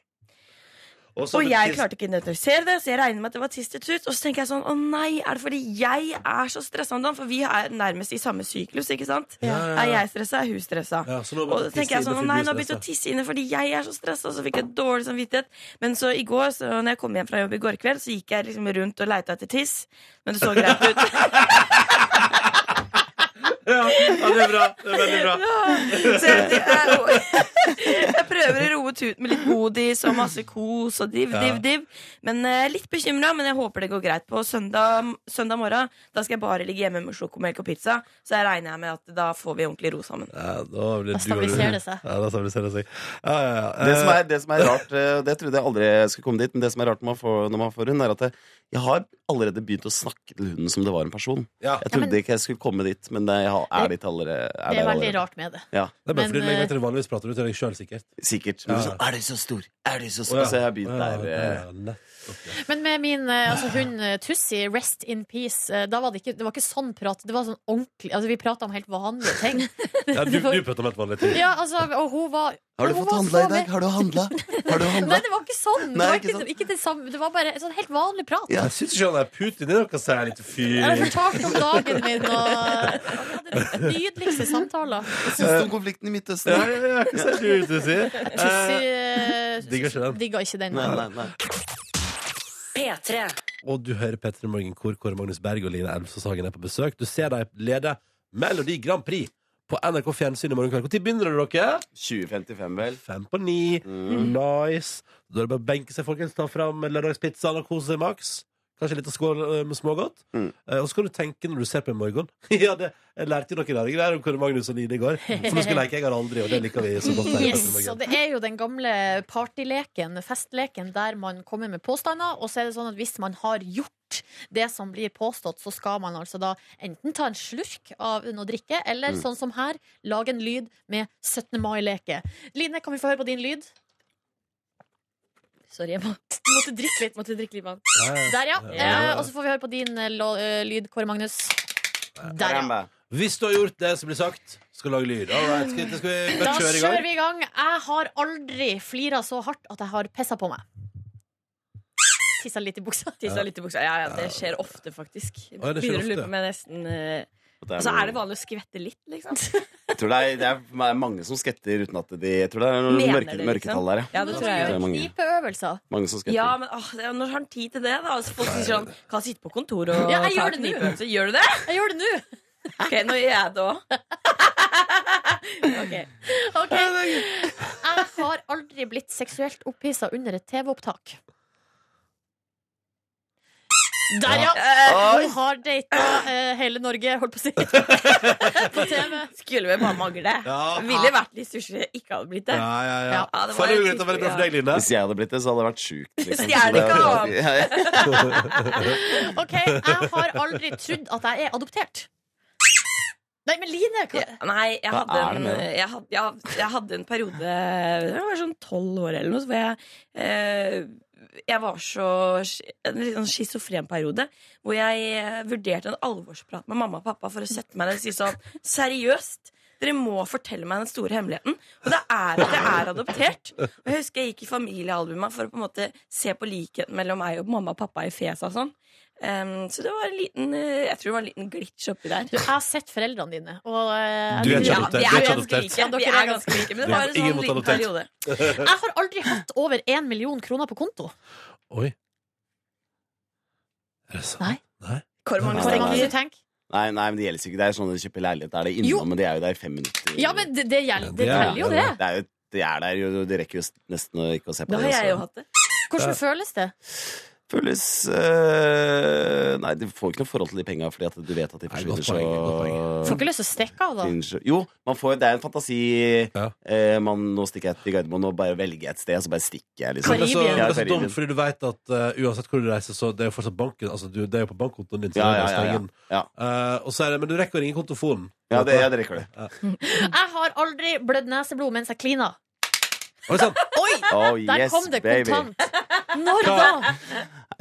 så og ble jeg tiss- klarte ikke å identifisere det, så jeg regner med at det var tiss til tut. Og så tenker jeg sånn, å nei, er det fordi jeg er så stressa om dagen? For vi er nærmest i samme syklus, ikke sant? Ja, ja, Er ja. jeg stressa, er hun stressa. Ja, så nå Og bare da tisse tenker jeg inn sånn, og nei, nå har jeg full begynt å business, tisse inne fordi jeg er så stressa, og så fikk jeg dårlig samvittighet. Men så i går, så når jeg kom hjem fra jobb i går kveld, så gikk jeg liksom rundt og leita etter tiss. Men det så greit ut. Ja, ja, det er bra. Det er veldig bra. Så jeg, jeg, jeg prøver å roe ut med litt godis og masse kos og div, div, div. Men eh, litt bekymra, men jeg håper det går greit. På søndag, søndag morgen Da skal jeg bare ligge hjemme med sjokomelk og pizza, så jeg regner jeg med at da får vi ordentlig ro sammen. Ja, da blir du og Da du- stabiliserer det seg. Ja, da stabiliserer det seg. Ja, ja, ja. Det som, er, det som er rart, eh, og det trodde jeg aldri jeg skulle komme dit, men det som er rart når man får, når man får hund, er at jeg, jeg har allerede begynt å snakke til hunden som det var en person. Ja. Ja, Jeg men- trodde ikke jeg skulle komme dit, men jeg har- er dit allerede. Det er der veldig allerede. rart med det. Ja, Det er bare Men, fordi du legger eh, til det vanligvis prater du til deg sjøl, sikkert. sikkert. Ja. Men sånn, er du så stor? Er du så stor? Så jeg har begynt der. eh, Men med min eh, altså, hund eh, Tussi, rest in peace, eh, da var det, ikke, det var ikke sånn prat. Det var sånn ordentlig altså, Vi prata om helt vanlige ting. Ja, du, du putter om helt vanlige ting. Ja, altså, og hun var Har du hun fått var handla så i dag? eh. Har du handla? Har du Nei, handla? det var ikke sånn. Nei, det, var ikke ikke, sånn. ikke det, samme. det var bare en sånn helt vanlig prat. Jeg syns ikke han der Putin er noe særlig til Jeg fyr. fortalte om dagen min, og vi hadde de nydeligste samtaler. Hva syns du om konflikten i Midtøsten? Ja, ja, ja, hva sier du, Tussi? Tussi Eh, eh, digger ikke den. digga ikke den. Nei, nei, nei. P3. Og du hører Petter i Morgen, hvor Kåre Magnus Berg og Line Elvsås Hagen er på besøk. Du ser de leder Melodi Grand Prix på NRK Fjernsyn i morgen kveld. Når begynner det, dere? 2055, vel? Fem på ni. Nice. Da er det bare å benke seg, folkens. Ta fram lørdagspizzaen og kose seg maks. Kanskje litt av skål eh, med smågodt. Mm. Eh, Og så kan du tenke når du ser på i morgen. ja, det, jeg lærte jo noen rare greier om Kåre Magnus og Line i går. For nå skal leke jeg har aldri, og det liker vi så godt. her i Yes, Petter Morgen. og det er jo den gamle partyleken, festleken, der man kommer med påstander, og så er det sånn at hvis man har gjort det som blir påstått, så skal man altså da enten ta en slurk av noe drikke, Mm. eller sånn som her, lage en lyd med 17. mai-leke. Line, kan vi få høre på din lyd? Sorry, jeg må, Måtte drikke litt. måtte drikke litt vann. Ja, ja. Der, ja. Ja. Eh, og så får vi høre på din eh, lo- eh, lyd, Kåre Magnus. Der, ja. Karamba. Hvis du har gjort det som blir sagt, skal du lage lyd. All right, skal, skal vi Da bare kjøre i kjører gang? vi i gang. Jeg har aldri flira så hardt at jeg har pissa på meg. Tissa litt i buksa. Tissa litt i buksa. Ja, ja, det skjer ofte, faktisk. Oi, det skjer Begynner å ofte, lure ja. på meg nesten eh, Og Altså, Og så det er Altså, noe- er det vanlig å skvette litt, liksom. Jeg tror det er, det er mange som skvetter uten at de Jeg tror det er noen Mener mørke, det, liksom. mørketall der, ja. Ja, det tror Det jeg er jo. mange, Knipeøvelser. mange som skvetter. Ja, men åh, det er- når har han tid til det, da? Altså, folk sier sånn Kan sitte på kontoret og Ja, jeg ta gjør det nå. knipeøvelse. Gjør du det? Jeg gjør det nå! Ok, nå gjør jeg det òg. Ok. Jeg har aldri blitt seksuelt opphissa under et TV-opptak. Der, ja! Hun har data eh, hele Norge, holdt på å si. på TV. Skulle vel bare mangle. Ja. Ville vært litt sushi, ikke hadde blitt det. Ja, ja, ja. Ja, Ja, det var Faen, det en var veldig bra for deg, Line. Hvis jeg hadde blitt det, så hadde det vært sjukt. Liksom. Stjel ikke av ham. Ja, ja. OK, jeg har aldri trodd at jeg er adoptert. Nei, men Line hva? Ja, Nei, jeg Hva hadde, er det en, med det? jeg, hadde, jeg, hadde, jeg hadde en periode Jeg var sånn tolv år eller noe, så var jeg eh, Jeg var så En litt sånn schizofren periode hvor jeg eh, vurderte en alvorsprat med mamma og pappa for å sette meg ned og si sånn Seriøst! Dere må fortelle meg den store hemmeligheten. Og det er at jeg er adoptert. Og jeg husker jeg gikk i familiealbuma for å på en måte se på likheten mellom meg og mamma og pappa i fjeset og sånn. Em, så det var en liten eh, Jeg tror det var en liten glitch oppi der. Du, jeg har sett foreldrene dine, og eh, Du er ikke Ja, adoptert. vi Du er ikke er ganske adoptert. like. Vi er ganske like, men Du det er var en ingen mot sånn liten adoptert. periode. jeg har aldri hatt over én million kroner på konto. Oi. Er det sant? Nei. Nei. Korvmagnus Hvor mange Nei. du tenker? Nei, nei, men det gjelder ikke. Det er sånn at de kjøper leilighet. Da er det Jo. innom, men de er jo der i fem minutter. Ja, men det, det gjelder det Ja, det er- gjelder jo, det. Det er jo, de er der jo, de rekker jo nesten å ikke å se på Da det. har jeg så- jo hatt det. sånn. Hvordan føles det? Føles øh, Nei, du får ikke noe forhold til de penga, fordi at du vet at de Nei, godt forsvinner poeng, godt poeng. Får så ikke lyst til å stikke av, da. Unnskyld. Jo, man får, det er en fantasi. Ja. Eh, man, nå stikker jeg til Gardermoen og bare velger jeg et sted, så bare stikker jeg. Men liksom Det er så, Ja, det er så Karibien. dumt, fordi du vet at eh, uansett hvor du reiser, så det er jo fortsatt banken. Altså, du, det er jo på bankkontoen din. Så det er Ja, ja, bare å ja, stenge ja. den. ja. Eh, og så er det, men du rekker å ringe kontofonen. ja det, jeg drikker det. Jeg har aldri blødd neseblod mens jeg klina. Oi, sant? Oi! Oh, Der yes, kom det baby. kontant. Når da?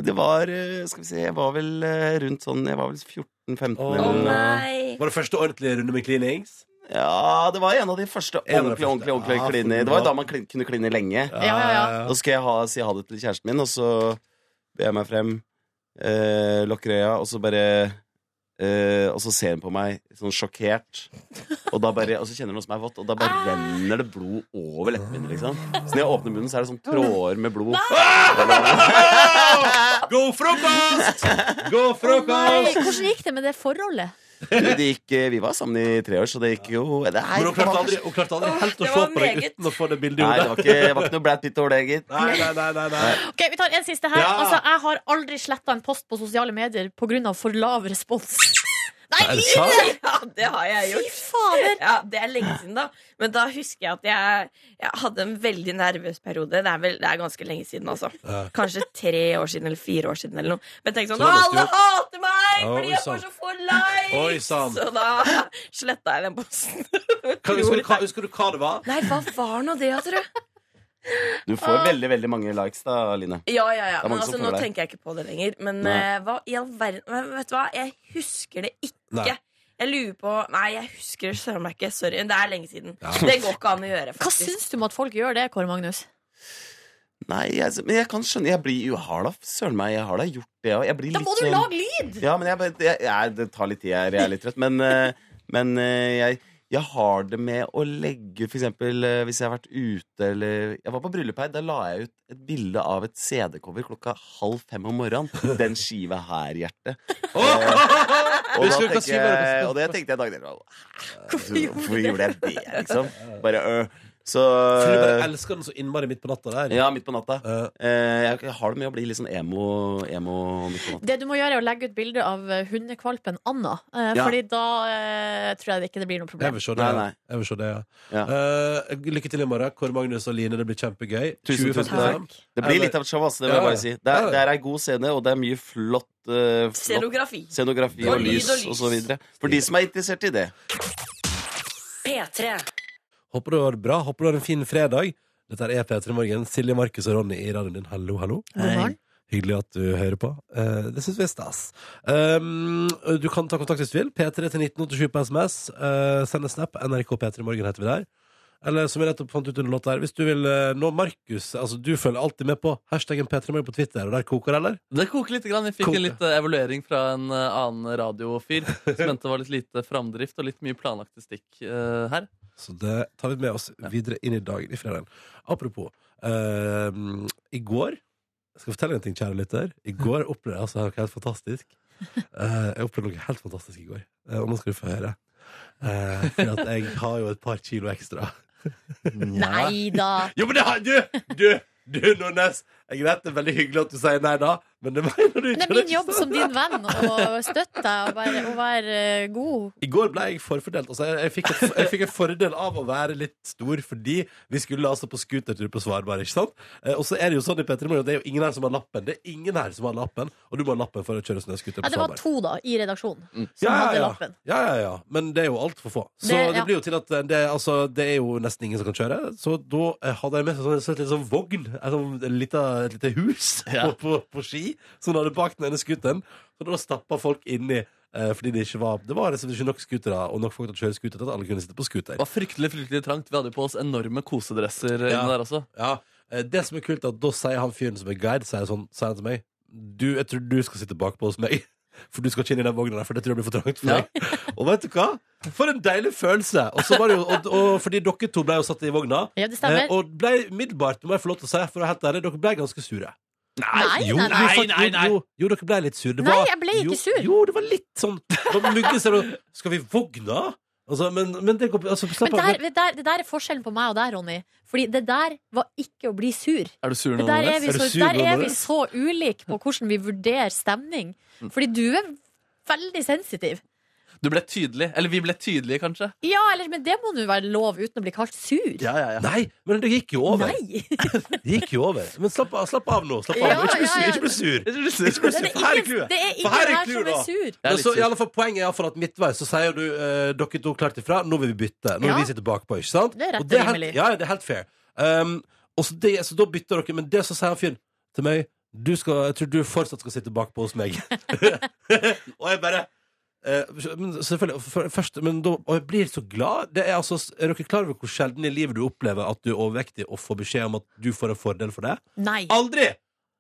Det var eh, Skal vi se, jeg var vel eh, rundt sånn Jeg var vel 14-15 Å, eller noe. Nei. Var det første ordentlige runde med cleanings? Ja, det var en av de første En av de ordentlig, første. ordentlig, ordentlig Ja, for kline. Det bra. var jo da man klin, kunne kline lenge. Ja, ja, ja. Eh, Da skal jeg ha, si ha det til kjæresten min, og så ber jeg meg frem, eh, lukker øya, og så bare eh, Og så ser hun på meg sånn sjokkert, og, da bare, og så kjenner hun noe som er vått, og da bare renner det blod over leppene mine, liksom. Så når jeg åpner munnen, så er det sånn tråder med blod. God frokost! God Nei, frokost! hvordan gikk det med det forholdet? Men det gikk, eh, vi var sammen i tre år, så det gikk jo Nei, Men hun det klarte var, aldri, hun klarte aldri helt å det se var på deg meget. uten å få det bildet i nei, det hodet. var ikke, det var ikke noe Brad Pitt over det, gitt. Nei, nei, nei, nei, nei. Ok, Vi tar en siste her. Ja. Altså, Jeg har aldri sletta en post på sosiale medier pga. for lav respons. Nei, Er det Line! sant? Ja, det har jeg Fy gjort. fader! Ja, Det er lenge siden, da. Men da husker jeg at jeg, jeg hadde en veldig nervøs periode. Det er, vel, det er ganske lenge siden, altså. Ja. Kanskje tre år siden eller fire år siden. eller noe Men tenk sånn Så da Å, måtte alle du- hater meg Ja, fordi oi, jeg får sant. så få likes! Oi, sant. Så da sletta jeg den posten. Hva, husker, du, hva, husker du hva det var? Nei, hva var nå det, tror du? Du får veldig, veldig mange likes da, Line. Ja, ja, ja. Det er Men mange som altså, får nå det. tenker jeg ikke på det lenger. Men Nei. eh, hva i all verden men Vet du hva, jeg husker det ikke. Nei. Jeg lurer på Nei, jeg husker det søren meg ikke. Sorry. Det er lenge siden. Det går ikke an å gjøre, Hva faktisk. syns du om at folk gjør det, Kåre Magnus? Nei, jeg, men jeg kan skjønne Jeg blir jo jeg har da, søren meg, jeg har da gjort det òg. Jeg blir Da litt må du sånn lage lyd! Ja, men jeg, bare- jeg, jeg, det tar litt tid, jeg, jeg er litt trøtt. Men, eh, men eh, jeg, jeg har det med å legge For eksempel eh, hvis jeg har vært ute eller Jeg var på bryllup her. Da la jeg ut et bilde av et CD-cover klokka halv fem om morgenen. Den skiva her, hjerte. Eh, Og, da Husker du hva tenker skiva det jeg, var? og det tenkte jeg dagen etter. «Hæ? Hvorfor gjorde jeg det, liksom? Bare, øh. Så Skulle bare elske den så innmari midt på natta der. Ja, midt på natta. Eh, Eh, jeg- jeg har det med å bli litt sånn emo, emo midt på natta. Det du må gjøre, er å legge ut bilde av eh, hundekvalpen Anna. Eh, Ja. Fordi da eh, tror jeg det ikke det blir noe jeg problem. vil se det. Nei, nei. Jeg vil se det ja. Ja. Eh, lykke til i morgen, Kåre Magnus og Line. Det blir kjempegøy. Tusen, tusen 20.55. takk. Det blir litt av et show, ass. Det vil Ja, jeg ja. bare si. Det Ja, ja. er, det er ei god scene, og det er mye flott, eh, flott Scenografi. scenografi Og og lyd lys og lys. og så videre. For de som er interessert i det. P3. Håper du har det bra. Håper du har en fin fredag. Dette er P3 Morgen. Silje, Markus og Ronny i radioen din. Hallo, hallo. God morgen. Hyggelig at du hører på. Eh, det syns vi er stas. Um, du kan ta kontakt hvis du vil. P3 til 1987 på SMS. Eh, send en snap. NRK P3 Morgen heter vi der. Eller som vi nettopp fant ut under låta her, hvis du vil eh, nå Markus altså Du følger alltid med på hashtaggen P3 Morgen på Twitter, og der koker det, eller? Det koker litt. Grann. Jeg fikk Koker. en litt eh, evaluering fra en eh, annen radiofyr som mente det var litt lite framdrift og litt mye planlagt stikk eh, her. Så det tar vi med oss videre inn i dagen i fredagen. Apropos, eh, i går Jeg skal fortelle en ting, kjære lytter. I går opplevde jeg altså noe helt fantastisk. Eh, jeg opplevde noe helt fantastisk i går, Eh, og nå skal du få høre. Eh, for at jeg har jo et par kilo ekstra. Nei da. Jo, men det har du! Du, du Nordnes! Jeg vet det er veldig hyggelig at du sier nei da, men det mener du Men ikke. det er min jobb som din venn å støtte deg og, bare, og være eh, god. I går ble jeg forfordelt. Altså, jeg, jeg, fikk et, jeg fikk en fordel av å være litt stor, fordi vi skulle altså på scootertur på Svalbard. ikke sant? Eh, og så er det jo sånn i Petter Morgen at det er jo ingen her som har lappen. Det er ingen her som har lappen, og du må ha lappen for å kjøre snøscooter Ja, på det var Svalbard. to da, i redaksjonen som Mm. Ja, ja, hadde ja. lappen. Ja, ja, ja. Men det er jo altfor få. Så det, Det- ja. blir jo til at det, er- altså, det er jo nesten ingen som kan kjøre. Så da eh, hadde jeg med sånn, så et lite sånn vogn, et sånn lite, et lite hus Ja. på, på, på ski, som hadde bak den ene scooteren. Så da stappa folk inni. eh, Fordi det ikke var Det var liksom ikke nok scootere og nok folk til å kjøre scooter til at alle kunne sitte på scooter. Det var fryktelig fryktelig trangt. Vi hadde jo på oss enorme kosedresser Ja. inne der også. Ja, eh, det som er kult er at da sier han fyren som er guide, sier, sånn, sier han til meg du, Jeg tror du skal sitte bakpå hos meg. For du skal ikke inn i den vogna der, for det tror jeg blir for trangt for Ja. deg. Og vet du hva? For en deilig følelse! Og så var det jo, og, og fordi dere to ble jo satt i vogna, Ja, eh, det stemmer. og ble umiddelbart, må jeg få lov til å si, for å være helt ærlig, dere ble ganske sure. Nei, jo, nei, nei. vi fant- Jo, jo, jo, dere ble litt sure. Det Nei, var- jeg ble ikke jo, sur. Jo, det var litt sånn Det var mugge, ser du. Skal vi vogna? Altså, men, men det går altså, slapp Men av. der, det, der, det der er forskjellen på meg og deg, Ronny. Fordi det der var ikke å bli sur. Er du sur nå, Det der er vi Er du så, sur nå, der er vi Nordnes? så ulike på hvordan vi vurderer stemning. Fordi du er veldig sensitiv. Du ble tydelig. Eller vi ble tydelige, kanskje. Ja, eller, men det må nå være lov uten å bli kalt sur. Nei, men det gikk jo over. Nei! Det gikk jo over. Men slapp av, slapp av nå. Slapp av. Ja, nå. ikke bli ja, sur. ja. Ikke bli sur. Jeg synes det- Det er For her er ingen, clouet. det er For her ingen er her clouet, som da. er sur. Jeg er Men litt så, i sur. alle fall, poenget er i alle fall at midtveis så sier du eh, dere to klart ifra. Nå vil vi bytte. Nå vil Ja. vi sitte bakpå. ikke sant? Det er rett Og det og helt, rimelig. ja, det er helt fair. Um, og så, det, så da bytter dere. Men det så sier han fyren til meg du skal, Jeg tror du fortsatt skal sitte bakpå hos meg. og jeg bare eh, men selvfølgelig, for- først, men da, og jeg blir så glad. Det er, altså, er dere klar over hvor sjelden i livet du opplever at du er overvektig og får beskjed om at du får en fordel for det? Nei. Aldri!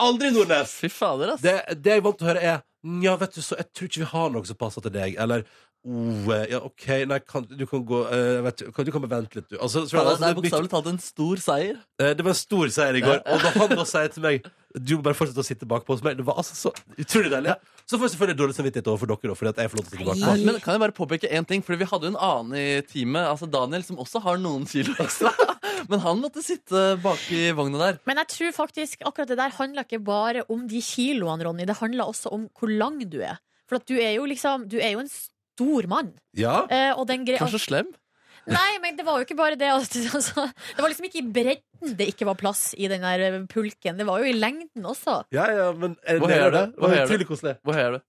Aldri, Nordnes! Fy fader, ass. Det, det jeg er vant til å høre, er Nja, vet du, så jeg tror ikke vi har noe som passer til deg. Eller oh, eh, ja, OK, nei, kan, du kan gå eh, vet du, kan, du kan bare vente litt, du. Altså, så- Fader, altså, det er det er mye- bokstavelig talt en stor seier. eh, det var en stor seier i går. Og da han da sier til meg Du må bare fortsette å sitte bakpå hos meg. Det var altså så utrolig deilig. Så får jeg selvfølgelig dårlig samvittighet overfor dere, da, fordi at jeg får lov til å sitte bakpå. Men kan jeg bare påpeke en ting? Fordi vi hadde jo en annen i teamet, altså Daniel, som også har noen kilo ekstra. Men han måtte sitte bak i vogna der. Men jeg tror faktisk akkurat det der handler ikke bare om de kiloene, Ronny. Det handler også om hvor lang du er. For at du er jo liksom Du er jo en stor mann. Ja, Eh, og den greia Kanskje slem? Nei, men det var jo ikke bare det. Altså, det var liksom ikke i bredden det ikke var plass i den der pulken. Det var jo i lengden også. ja, ja, men eh, Hvor det høy er er det. det? Hvor Det høy var er det? utrolig koselig. Hvor høy er du?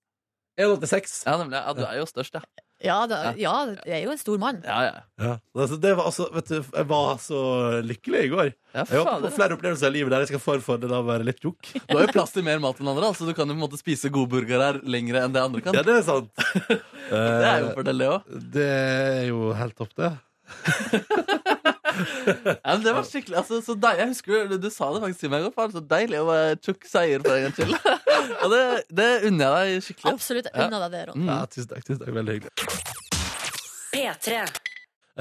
1,86. Ja, nemlig. Ja, du er jo størst, ja. Ja, det, ja, det er jo en stor mann. Ja, ja. Ja. Altså, det var altså Vet du, jeg var så lykkelig i går. ja Jeg håper på fader. flere opplevelser i livet der jeg skal få en fordel av å være litt tjukk. Du har jo plass til mer mat enn andre, altså du kan jo på en måte spise gode burgere her lengre enn det andre kan. Ja, det er sant. Det er jo en fordel, det òg. Eh, det er jo helt topp, det. Ja, men det var skikkelig altså, så deil, Jeg husker jo, du, du sa det faktisk til meg i går. faen, Så deilig å være tjukk seier for en gangs skyld. Og det, det unner jeg deg skikkelig. altså. ass. Mm. Absolutt. Unna deg det, Ronny. Mm. Ja, tusen takk. tusen takk, Veldig hyggelig. P3.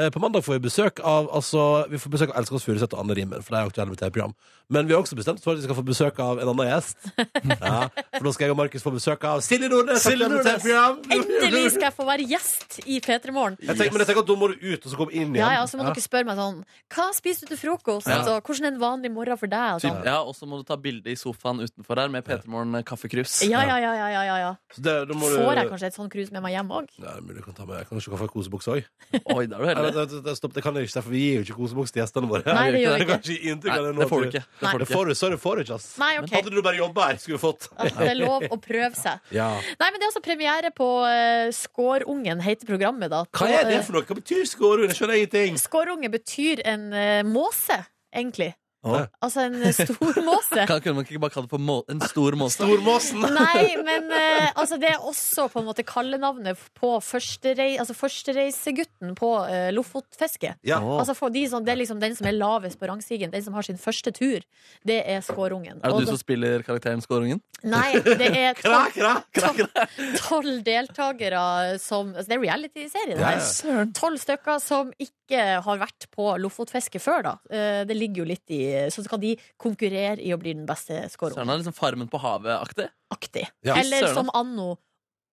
Eh, På mandag får vi besøk av altså, Vi får besøk av Elsker oss Furuseth og Anne Rimmen, for de er aktuelle med TV-program. Men vi har også bestemt oss for at vi skal få besøk av en annen gjest. Ja, for nå skal jeg og Markus få besøk av Silje Nordnes. Silje aktuell med Nordnes. TV-program. Endelig skal jeg få være gjest i P3 Morgen. Jeg tenker, men jeg tenker at da må du ut, og så komme inn igjen. Ja, ja, så må dere spørre meg sånn Hva spiser du til frokost? Ja. Og hvordan er en vanlig morgen for deg? Og sånn. Ja, Og så må du ta bilde i sofaen utenfor her med P3morgen kaffekrus. Ja, ja, ja, ja, ja, ja, ja. Så det, da må du... Får jeg kanskje et sånn krus med meg hjem òg? Ja, det er mulig du kan ta med. Jeg kan ikke få kosebukse òg. Oi, da er du heldig. Stopp, det kan jeg ikke, for vi gir jo ikke kosebukse til gjestene våre. Nei, det gjør Det vi kan ikke. ikke gi inntrykk Nei, av det nå. det får du ikke. Det Nei. får du Det ikke. får du, sorry, får du ikke, ass. Nei, OK. Hadde du bare jobba her, skulle du fått. At det er lov å prøve seg. Ja. Nei, men det er altså premiere på uh, Skårungen, heter programmet, da. Hva er det for noe? Hva betyr skårord? Jeg skjønner ingenting. Skårunge betyr en eh, måse, egentlig. Å. Altså en stor måse. Kan, kunne man ikke bare kalle det for må en stor måse? Stormåsen. Nei, men eh, altså, det er også på en måte kallenavnet på førsterei, altså førstereisegutten på eh, Lofotfiske. Ja. Å. Altså for de som, det er liksom den som er lavest på rangstigen, den som har sin første tur, det er skårungen. Er det Og du som spiller karakteren Skårungen? Nei, det er Kra, tolv, kra, kra, kra. tolv deltakere som altså Det er reality-serie, det Ja, her. Tolv stykker som ikke har vært på Lofotfiske før, da. Eh, Det ligger jo litt i Så skal de konkurrere i å bli den beste Søren han er liksom Farmen på havet-aktig. skårungen-aktig. Ja. Eller Søren. som anno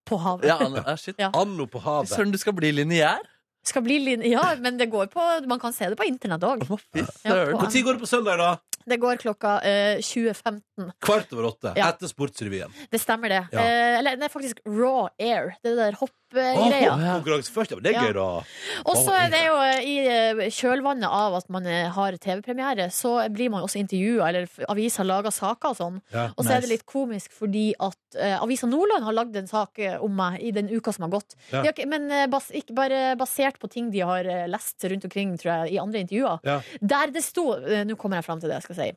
på havet. Ja, han er- shit. Ja. Anno på havet. Søren, du skal bli lineær? Skal bli lin ja, men det går på Man kan se det på internett òg. Å, fy Ja, søren. på- Når går det på søndag, da? Det går klokka eh, 20.15. Kvart over åtte. Ja. Etter Sportsrevyen. Det stemmer, det. Ja. Eh, eller det er faktisk Raw Air. Det er det der Å, hoppegreia. Konkurranse først, ja. Men det er Ja. gøy, da. Og så er det jo eh, i eh, kjølvannet av at man eh, har TV-premiere, så blir man jo også intervjua, eller f- aviser lager saker og sånn. Ja. Og så er det litt komisk fordi at eh, Avisa Nordland har lagd en sak eh, om meg i den uka som har gått. Ja. De har ikke, men eh, bas, ikke bare basert på ting de har eh, lest rundt omkring, tror jeg, i andre intervjuer. Ja. Der det sto eh, Nå kommer jeg fram til det jeg skal si.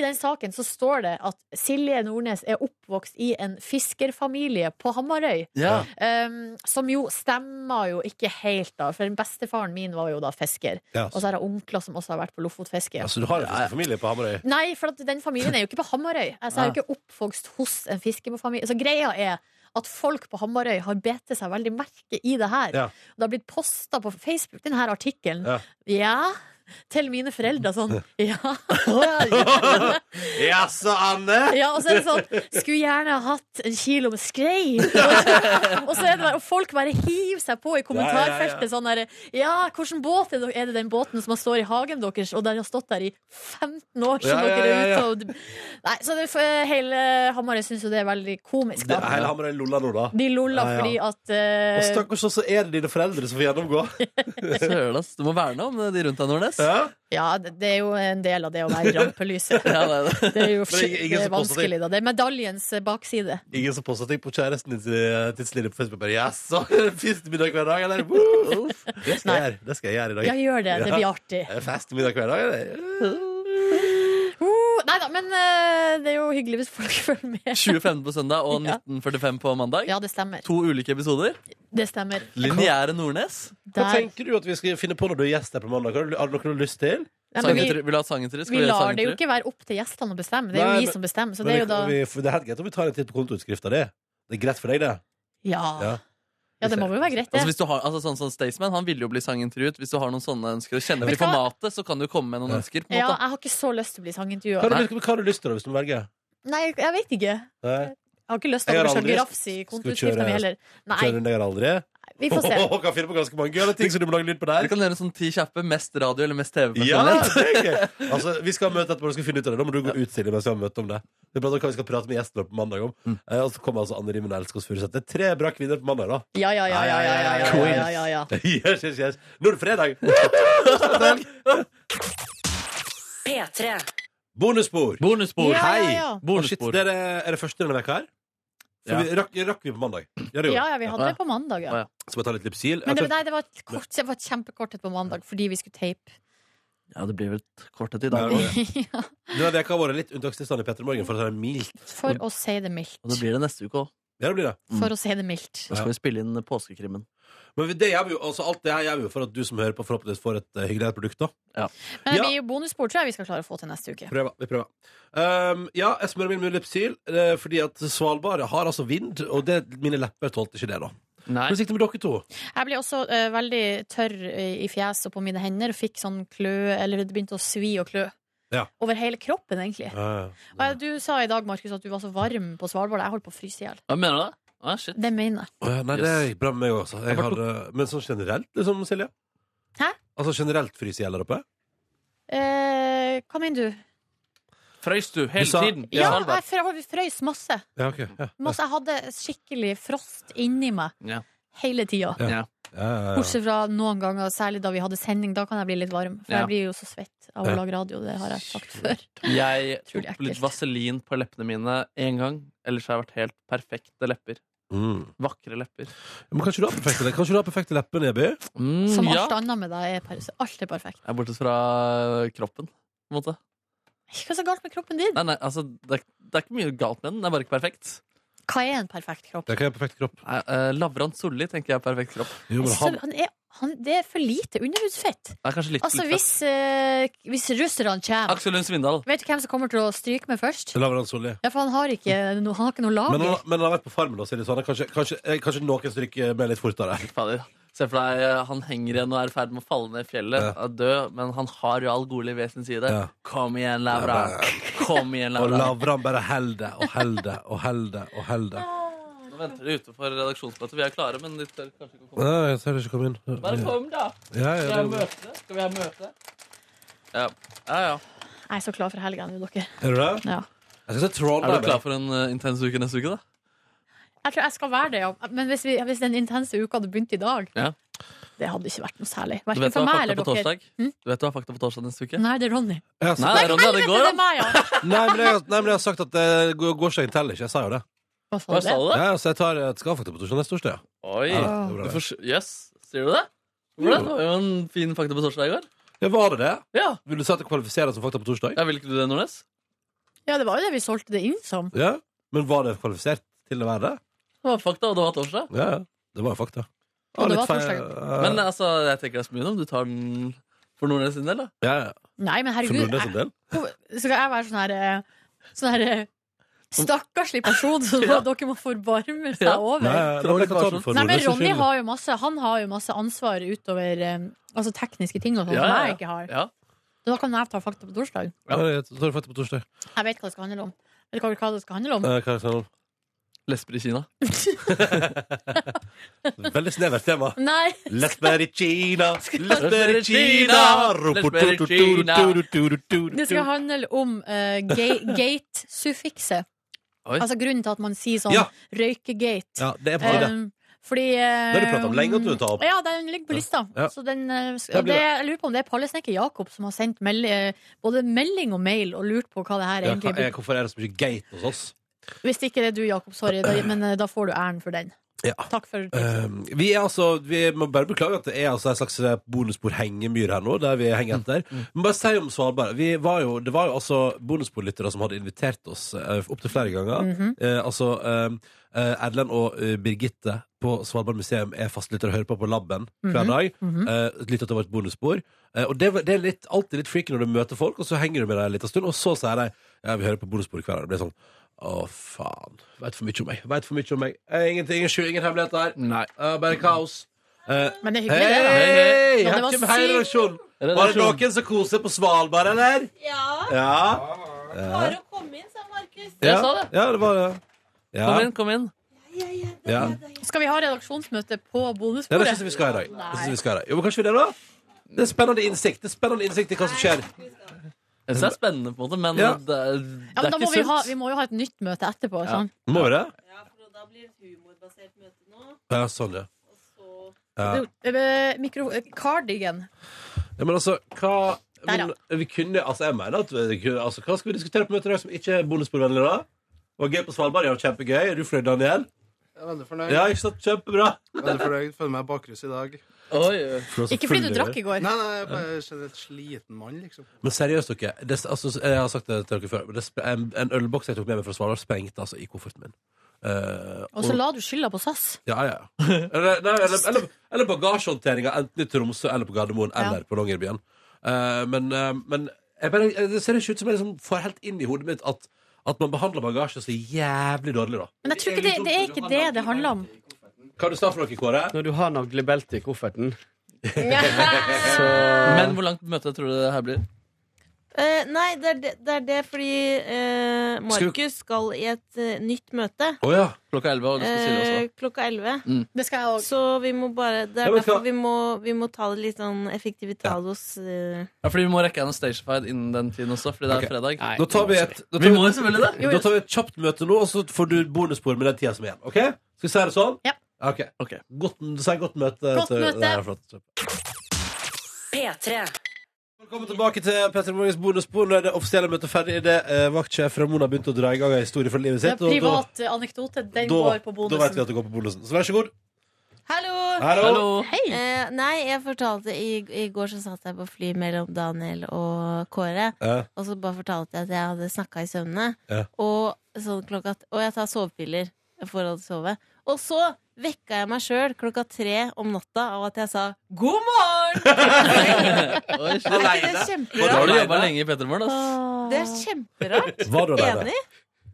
I den saken så står det at Silje Nordnes er oppvokst i en fiskerfamilie på Hamarøy. Ja. Um, som jo stemmer jo ikke helt, da. For bestefaren min var jo da fisker. Ja, Og så har jeg onkler som også har vært på Lofotfiske. Ja, så du har en fiskefamilie på Hamarøy? Nei, for at den familien er jo ikke på Hamarøy. Altså, jeg er jo ikke oppvokst hos en fiskefamilie. Så greia er at folk på Hamarøy har bitt seg veldig merke i det her. Ja. Og det har blitt posta på Facebook, denne artikkelen. Ja. Ja, til mine foreldre sånn. Ja. Jaså, Anne? ja, og så er det sånn Skulle gjerne ha hatt en kilo med skrei. og så er det bare, og folk bare hiver seg på i kommentarfeltet sånn der Ja, hvilken båt er det, er det den båten som står i hagen deres, og den har stått der i 15 år, så Ja, ja, dere ja, er ja. ute og Nei, så det, eh, hele Hamarøy syns jo det er veldig komisk, Det da. er hele Hamarøy lolla nå, da. De lolla Ja, ja. fordi at eh, Og stakkars, så er det dine foreldre som får gjennomgå. Søren, ass. Du må verne om de rundt deg, Nordnes. Ja? Ja, det det er jo en del av det å være rampelyset. Ja, det er det. Det er jo Men ingen- ingen skikkelig som påstår vanskelig, da. Det er medaljens bakside. Ingen som påstår ting på kjæresten din til til Silje på Facebook. Bare jaså, fistemiddag hver dag, eller? Woo! Det skal, jeg gjøre. det skal jeg gjøre i dag. Ja, gjør det. Det blir artig. Er det Fest middag hver dag, eller? Uh, nei da, men eh, det er jo hyggelig hvis folk følger med. 2015 på søndag og Ja. 1945 på mandag. Ja, det stemmer. To ulike episoder. Det stemmer. Lineære Nordnes. Hva Der. tenker du at vi skal finne på når du er gjest her på mandag? Har du- Har du noe du har lyst til? Nei, men vi, Sangintervju- Vil du ha sangintervju? Skal vi vi gjøre lar det jo sangintervju? ikke være opp til gjestene å bestemme. Det er Nei, jo vi men- som bestemmer, så Men det er vi jo da kan- vi, for det er helt greit om vi tar en titt på kontoutskrifta di. Det er greit for deg, det? Ja. Ja. Ja, det må vel være greit, Altså, det. hvis du har, altså, sånn, sånn Staysman han ville jo bli sangintervjuet. Hvis du har noen sånne ønsker og kjenner Vet til du hva? formatet, så kan du jo komme med noen ønsker. På en Ja, måte. jeg har ikke så lyst til å bli Hva har sangintervjua. du, lyst- hva har du lyst til da, hvis du må velge? Nei, jeg vet ikke. Jeg Nei. har ikke lyst til Jeg at har det skal aldri- grafse Skal i vi kontoutskrifta mi kjøre- heller. Nei, Kjører du den der aldri? vi får se. kan finne på ganske mange gøye ting som du må lage lyd på Vi der. kan gjøre en sånn ti kjappe. Mest radio eller mest Ja, TV-personlighet? det er gøy. Altså, vi skal ha møte etterpå, du skal finne ut av det. Da må du gå ut Silje, mens vi har møte om det. Vi prater om hva vi skal prate med gjestene på mandag om. Eh, og så kommer altså Anne Rimmen og Elskås Furuseth. Det er tre bra kvinner på mandag, da. Ja, ja, ja, ja, ja, ja, ja, ja, ja, ja, ja. yes, yes, yes. Nå er det fredag! P3. Bonusspor! Bonusbord. Ja, ja, ja. Hei! Å, shit, Bonusbord. det er, det- er det første denne veka her? For Ja. vi, rakk, rakk vi på mandag? Ja, det Ja, gjorde vi. ja, vi hadde det på mandag, ja. Å, ja. Så må jeg ta litt Altså, Lypsyl. Men det, nei, det var, et kort, det var et kjempekort et på mandag fordi vi skulle tape. Ja, det blir vel et kortet i Ja, dag. det var det. Denne veka har vært litt unntakstilstand i Petter Morgen, for å ta det mildt. For å si det Og det mildt. blir det neste uke òg. Ja, det blir det. For å si det mildt. Da skal vi spille inn påskekrimmen. Men det gjør vi jo, altså, alt det her gjør vi jo for at du som hører på, forhåpentligvis får et eh, hyggeligere produkt, da. Men det Ja. blir jo bonusspor, tror jeg vi skal klare å få til neste uke. Prøver, vi prøver. Um, ja, jeg smører min munn Lypsyl, eh, fordi at Svalbard har altså vind, og det, mine lepper tålte ikke det, da. Nei. Hvordan gikk det med dere to? Jeg ble også eh, veldig tørr eh, i fjeset og på mine hender og fikk sånn klø, eller det begynte å svi og klø. Ja. Over hele kroppen, egentlig. Og Uh, jeg, du sa i dag, Markus, at du var så varm på Svalbard. Jeg holdt på å fryse i hjel. Hva mener du det? Ah, shit. Det mener jeg. nei, det Yes. gikk bra med meg også. Jeg Jeg bare hadde, men sånn generelt, liksom, Silje? Hæ? Altså generelt fryse i hjel der oppe? Eh, hva mener du? Frøys du hele Du sa- tiden? Ja, Svalbard. jeg frø- jeg frøys masse. Ja, ok. Ja, masse. Jeg hadde skikkelig frost inni meg Ja. hele Ja. tida. Ja. ja, ja, ja. Bortsett fra noen ganger, særlig da vi hadde sending. Da kan jeg bli litt varm. For Ja. jeg blir jo så svett av å Ja. lage radio. Det har jeg sagt før. Jeg Utrolig tok litt ekkelt. vaselin på leppene mine én gang. Ellers har jeg vært helt perfekte lepper. Mm. Vakre lepper. Men kanskje du har perfekte, le- kanskje du har perfekte lepper, Neby? Mm, Som ja. alt annet med deg er per- Alt er perfekt. Jeg er bortsett fra kroppen. På en måte. Ikke hva er så galt med kroppen din? Nei, nei, altså, det, er, det er ikke mye galt med den. Den er bare ikke perfekt. Hva er en perfekt kropp? Det kan jeg ha perfekt kropp. Nei, eh, Lavrans Solli tenker jeg er perfekt kropp. Jo, Jeg men synes han, Altså, han er, han, det er for lite underhudsfett. Det er kanskje litt, Altså, litt hvis, eh, hvis russerne fett. kommer Aksel Lund Svindal. Vet du hvem som kommer til å stryke meg først? Lavrans Solli. Ja, for han har ikke, no, han har ikke noe Men lager. han, men han har vært på farmen, da, Silje, så han har kanskje, kanskje, eh, kanskje noen stryker med litt fortere. Fy Fader. Se for deg, eh, han henger igjen og er i ferd med å falle ned i fjellet. Ja. Er død, men han har jo all godliv ved sin side. Ja. Kom igjen, Lavran. Kom igjen, Og Lavran. Lavran bare holder og holder og holder og holder. Nå venter de utenfor redaksjonsmøtet. Vi er klare, men de tør kanskje ikke å komme. Nei, jeg tør ikke komme inn. Bare kom, da. Ja, ja, Skal vi det ha er bra. møte? Skal vi ha møte? Ja. ja, ja. Jeg er så klar for helga nå, dere. Er du det? Ja. Jeg skal se troll Er du der. klar for en eh, intens uke neste uke, da? Jeg tror jeg skal være det, ja. Men hvis, vi, hvis den intense uka hadde begynt i dag, Ja. det hadde ikke vært noe særlig. Du Verken vet du for har meg fakta eller på dere. Mm? torsdag? Du vet du har fakta på torsdag neste uke? Nei, det er Ronny. Ja, så- Nei, Ronja, det går, det da. er meg, ja! Nei, men jeg, nei, men jeg har sagt at det går, går seg til ikke. Jeg sa jo det. Hva Ah. sa Hva du sa det? du da? Ja, så jeg tar et skafakta på torsdag neste torsdag. ja. Oi. Ja, det er Du bra, det. får, yes. Sier du det? Hvordan? Det var jo en fin fakta på torsdag i går. Ja, var det det? Ja. Vil du si at det kvalifiserer som fakta på torsdag? ja Vil ikke du det, Nordnes? Ja, det var jo det vi solgte det inn som. Ja. Men var det kvalifisert til å være det? Det var fakta, og det var torsdag. Ja, ja. det var jo fakta. Og det litt var feil- eh, Men altså, jeg tenker det er så mye nå. Du tar den for Nordnes sin del, da. Ja, ja. Nei, men For herregud. Nordnes sin Jeg, del. skal jeg være sånn her eh, Sånn her eh, Stakkarslig person som Ja. dere må forbarme seg Ja. over. Nei, Nei, ja, da kan jeg ta sånn? den for men Nordnes sin Ronny skyld. har jo masse Han har jo masse ansvar utover eh, Altså tekniske ting og sånn Ja, som ja, jeg ikke har. Ja. Da kan jeg ta fakta på torsdag. Ja, jeg tar fakta på torsdag. Jeg vet hva det skal handle om. Vet dere hva det skal handle om? Eh, Hva er det som- Lesber i Kina. Veldig snevert tema. Nei! Lesber i Kina, lesber i Lesber i Kina Kina, lesber i Kina. Det Det skal handle om eh, ga- gate-suffikset. Oi. Altså grunnen til at man sier sånn Ja. røykegate. Ja, det er på tide. Um, fordi eh, Det har du pratet om lenge at du vil ta opp. Ja, den ligger på lista. Ja. Så den, eh, sk- Da blir det, jeg lurer på om det er pallesnekker Jakob som har sendt mel eh, både melding og mail og lurt på hva det her Ja, egentlig hva er- blir. Hvorfor er det så mye gate hos oss? Hvis ikke det er du, Jakob, sorry, da, men eh, da får du æren for den. Ja. Takk for tipset. Eh, vi er altså, vi må bare beklage at det er altså en slags bonusbord hengemyr her nå, der vi henger etter. Men bare si om Svalbard. Vi var jo, det var jo altså bonusbordlyttere som hadde invitert oss uh, opptil flere ganger. Eh, altså eh, eh, Erlend og eh, Birgitte på Svalbard museum er fastlyttere og hører på på laben hver dag. eh, lytter til vårt bonusbord. Eh, og det, var- det er litt, alltid litt freaky når du møter folk, og så henger du med dem en liten stund, og så sier de ja, vi hører på bonusbordet hver dag. Det blir sånn å, faen. Veit for mye om meg. Vet for mye om meg. Eh, Ingenting, ingen skjul, ingen hemmeligheter. her. Nei. Ja, bare kaos. Eh, Men det er Hei, hyggelig, det. da. hei, Ja, her det var kommer hei, sykt. redaksjon. Var det noen som koser på Svalbard, eller? Ja, Ja. bare å komme inn, sa Markus. Ja, Jeg sa det. ja det var det. Ja. Kom inn, kom inn. Ja. Skal vi ha redaksjonsmøte på Ja, det bonusbordet? syns jeg vi skal i dag. Det synes jeg vi skal i dag. Jo, men kanskje vi det, da? Det er spennende innsikt Det er spennende innsikt i hva som skjer. Jeg synes det er spennende, på en måte, men Ja. det, er- det Ja, er men da ikke må vi, sunt. ha, vi må jo ha et nytt møte etterpå. Ja. Sånn. Må vi det? Ja, for da blir det et humorbasert møte nå. Ja, sånn, ja. Ja. Jo, eh, Mikro eh, cardigan. ja men altså, hva Der, ja. men, vi kunne, altså, jeg mener at vi kunne, altså, Hva skal vi diskutere på møtet i dag som ikke er bonusbordvennlig, da? Det var gøy på Svalbard, ja, kjempegøy. Er du fornøyd, Daniel? Jeg er veldig fornøyd. Ja, ikke sant? Kjempebra. Veldig fornøyd. Føler meg bakrus i dag. Oi, Ikke fordi du drakk i går. Nei, nei, jeg er bare generelt sliten mann, liksom. Men seriøst, dere. Det, altså, jeg har sagt det til dere før. Men det, sp- en, en ølboks jeg tok med meg fra Svalbard, sprengte altså i kofferten min. Eh, Og så la du skylda på SAS. Ja, ja. Eller, nei, eller, eller, eller bagasjehåndteringa, enten i Tromsø eller på Gardermoen Ja. eller på Longyearbyen. Eh, men eh, men jeg bare, jeg- det ser ikke ut som jeg liksom får helt inn i hodet mitt at, at man behandler bagasje så jævlig dårlig, da. Men jeg tror ikke det, det er ikke det det handler om. Hva har du snart for noe, Kåre? Når du har naglebelt i kofferten. Så... Men hvor langt møte tror du det her blir? Eh, nei, det er det, det, er det fordi eh, Markus skal i et eh, nytt møte. Klokka 11, og du skal si det Eh, også. klokka 11. Mm. Det skal jeg òg. Så vi må bare Det Ja, er men derfor hva- vi må, vi må ta det litt sånn effektivitados. eh. Ja, fordi vi må rekke en Stagefied innen den tiden også, fordi det er fredag. Da tar vi et da tar Vi må jo selvfølgelig det. Da tar vi et kjapt møte nå, og så får du bonusspor med den tida som er igjen. Ok? Skal vi si det sånn? Ja. Ok. Godt, si godt møte. Godt til- møte. Det er flott. P3. Velkommen tilbake til Petter Morgens bonusspor. Nå er det offisielle møtet ferdig. Det eh, vaktsjef Ramona begynte å dra i gang en historie fra livet Det er sitt. og privat eh, anekdote. Den da, går på da vet vi bonusen. at det går på bonusen. Så vær så god. Hallo! Hallo. Hallo. Eh, nei, jeg fortalte i, I går så satt jeg på fly mellom Daniel og Kåre. Ja. Og så bare fortalte jeg at jeg hadde snakka i søvne. Ja. Og sånn klokka Og jeg tar sovepiller for å sove. Og så vekka jeg meg sjøl klokka tre om natta av at jeg sa 'god morgen'! Oi, Er shit. ikke det Og da har du jobba kjemperart? lenge i Petermorgen, ass. Det er kjemperart. Var du alene? Enig?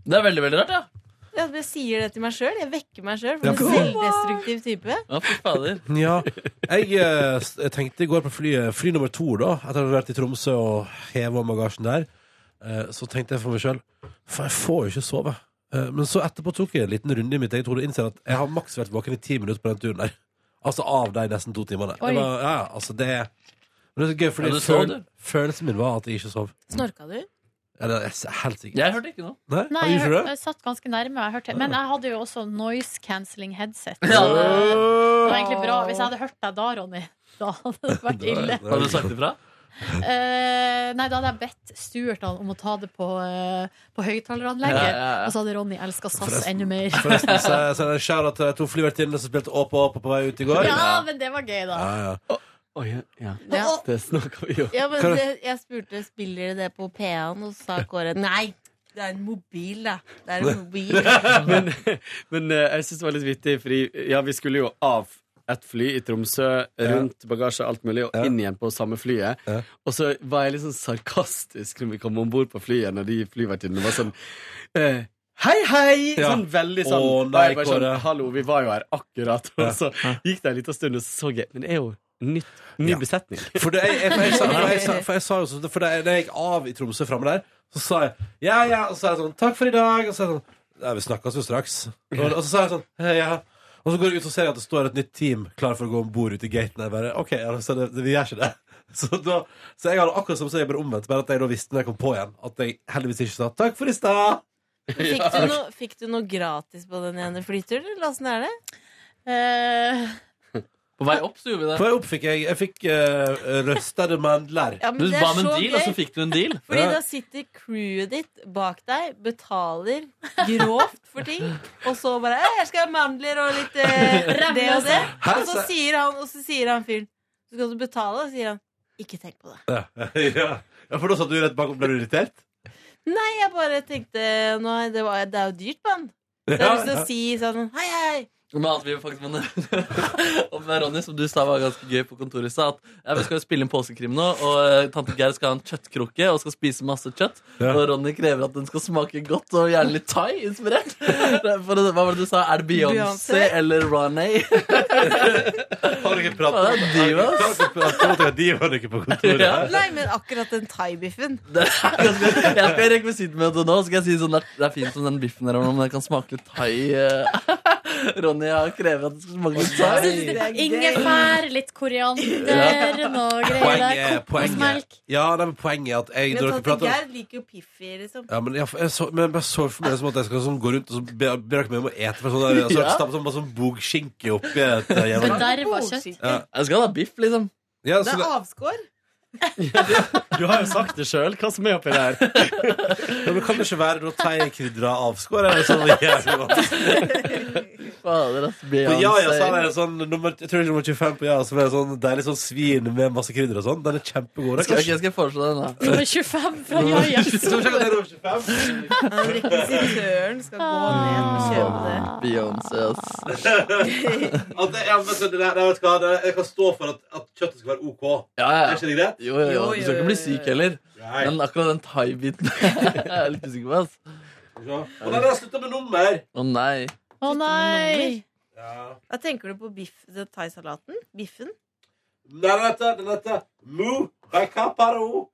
Det er veldig, veldig rart, ja. Jeg sier det til meg sjøl. Jeg vekker meg sjøl. Ja, For en for- selvdestruktiv type. Ja, fy fader. Ja. Jeg, eh, s- jeg tenkte i går på flyet, fly nummer to, da, etter å ha vært i Tromsø og heva om bagasjen der. eh, Så tenkte jeg for meg sjøl For jeg får jo ikke sove. Eh, Men så etterpå tok jeg en liten runde i mitt eget hode og innser at jeg har maks vært våken i ti minutter på den turen der. Altså av de nesten to timene. Det Oi. var, ja, ja, altså det Men det er så gøy, fordi Ja, du sov, føl, følelsen min var at jeg ikke sov. Snorka du? Eller jeg er helt sikker. Jeg hørte ikke noe. Nei, Nei, Har du jeg, ikke hør- det? jeg satt ganske nærme. Jeg hørte, men jeg hadde jo også noise cancelling headset. Ja. Så Det var egentlig bra. Hvis jeg hadde hørt deg da, Ronny, da hadde det vært ille. Har du sagt ifra? Eh, nei, da hadde jeg bedt Stuart da om å ta det på, eh, på høyttaleranlegget. Ja, ja, ja. Og så hadde Ronny elska SAS Forresten- enda mer. Forresten så så er det skjær at det er to flyvertinner som spilte Åp og Åp på vei ut i går. Ja, men det var gøy, da. Ja, ja. Ja. Det snakker vi jo Ja, men Hva er det, jeg spurte spiller dere det på P1, og så sa Kåre nei. Det er en mobil, da. Det er en mobil. men, men eh, jeg syns det var litt vittig, fordi ja, vi skulle jo av et fly i Tromsø, rundt bagasje og alt mulig, og inn igjen på samme flyet. Og så var jeg litt sånn sarkastisk når vi kom om bord på flyet, når de flyvertinnene var sånn eh, Hei, hei! Ja. Sånn veldig sånn. Å, og nei, jeg bare Kåre. sånn Hallo, vi var jo her akkurat. Ja. Og så gikk det en liten stund, og så så jeg Men det er jo nytt, ny besetning. For det, jeg, jeg, for jeg, sa- for jeg, sa- for jeg sa jo sånn For da jeg, da jeg gikk av i Tromsø framme der, så sa jeg ja, ja, og så sa jeg sånn Takk for i dag. Og så sa jeg sånn Nei, vi snakkes jo straks. Og, og så sa jeg sånn «Hei, ja. Og så går jeg ut og ser at det står et nytt team klar for å gå om bord ute i gaten. Jeg bare OK, ja, så det, det, vi gjør ikke det. Så, da, så jeg hadde akkurat som så jeg bare omvendt, bare at jeg da visste når jeg kom på igjen, at jeg heldigvis ikke sa takk for i stad. Fikk du, noe, fikk du noe gratis på den ene flyturen, eller åssen er det? Eh, På vei opp så gjorde vi det. På vei opp fikk jeg Jeg fikk eh, røstede mandler. Ja, men du det er ba om en så deal, altså, gøy. og så fikk du en deal. fordi da sitter crewet ditt bak deg, betaler grovt for ting, og så bare «Eh, 'Jeg skal ha mandler og litt eh, det og det.' Hæ? Og så sier han, og så sier han fyren 'Skal du betale?' Og så sier han 'Ikke tenk på det'. Ja, ja. ja, for da satt du rett bakom. Ble du irritert? Nei, jeg bare tenkte Nei, det, var, det er jo dyrt, mann. Så jeg har Ja, lyst til ja. å si sånn Hei, hei! Men at vi faktisk må nevne Og med Ronny, som du sa var ganske gøy på kontoret i stad, at ja, vi skal jo spille inn påskekrim nå, og eh, tante Geir skal ha en kjøttkrukke og skal spise masse kjøtt. Ja. Og Ronny krever at den skal smake godt og gjerne litt thai-inspirert. For det- Hva var det du sa? Er det Beyoncé Beyoncé. eller Ronny? Har dere pratet om divas? Ja. Nei, men akkurat den thaibiffen. Jeg skal i rekvisittmøte nå og skal jeg si sånn at det er fint om den biffen der, men den kan smake litt thai. eh. Ronny har krevet at det skal smake litt Altså, thai. Ingefær, litt koriander, noe greier der. Poenget, poenget, ja, nei, men poenget er at jeg Men sånn når dere tante prater Geir om liker jo Piffi, liksom. ja, men jeg, jeg så, men jeg bare så for meg det som at jeg skal sånn, gå rundt og så be, ber dere meg om å ete for sånn, der, altså, Ja. stappe sånn, bare sånn bogskinke oppi et eh, jævla- Forderva kjøtt. ja. Jeg skal ha biff, liksom. Ja, Det så, er det- avskår. Du har jo sagt det sjøl, hva som er oppi der. ja, men kan det ikke være da teigkrydra avskår? Er det sånn jævlig vanskelig? Fader, ass. På Beyoncé. ja, ja, så er det sånn nummer, Jeg tror det er nummer 25 på ja, så er det sånn deilig sånn svin med masse krydder og sånn. Den er kjempegod. Skal, jeg skal jeg foreslå den, da? Nummer 25 fra Ja ja. Skal vi sjekke om det er nummer 25? Rekvisitøren skal gå ned og kjøpe det. Beyoncé, ass. at det, ja, vet du, det, det, vet du hva, det, jeg kan stå for at, at kjøttet skal være OK. Ja, ja. Er ikke det greit? Jo, jo, jo. Du skal ikke bli syk heller. Nei. Men akkurat den thai-biten Jeg er litt usikker på, ass. Og da har jeg slutta med nummer. Å nei. Å nei! Hva tenker du på biff, den thaisalaten? Biffen? Den heter, den heter Mu Bakaparo.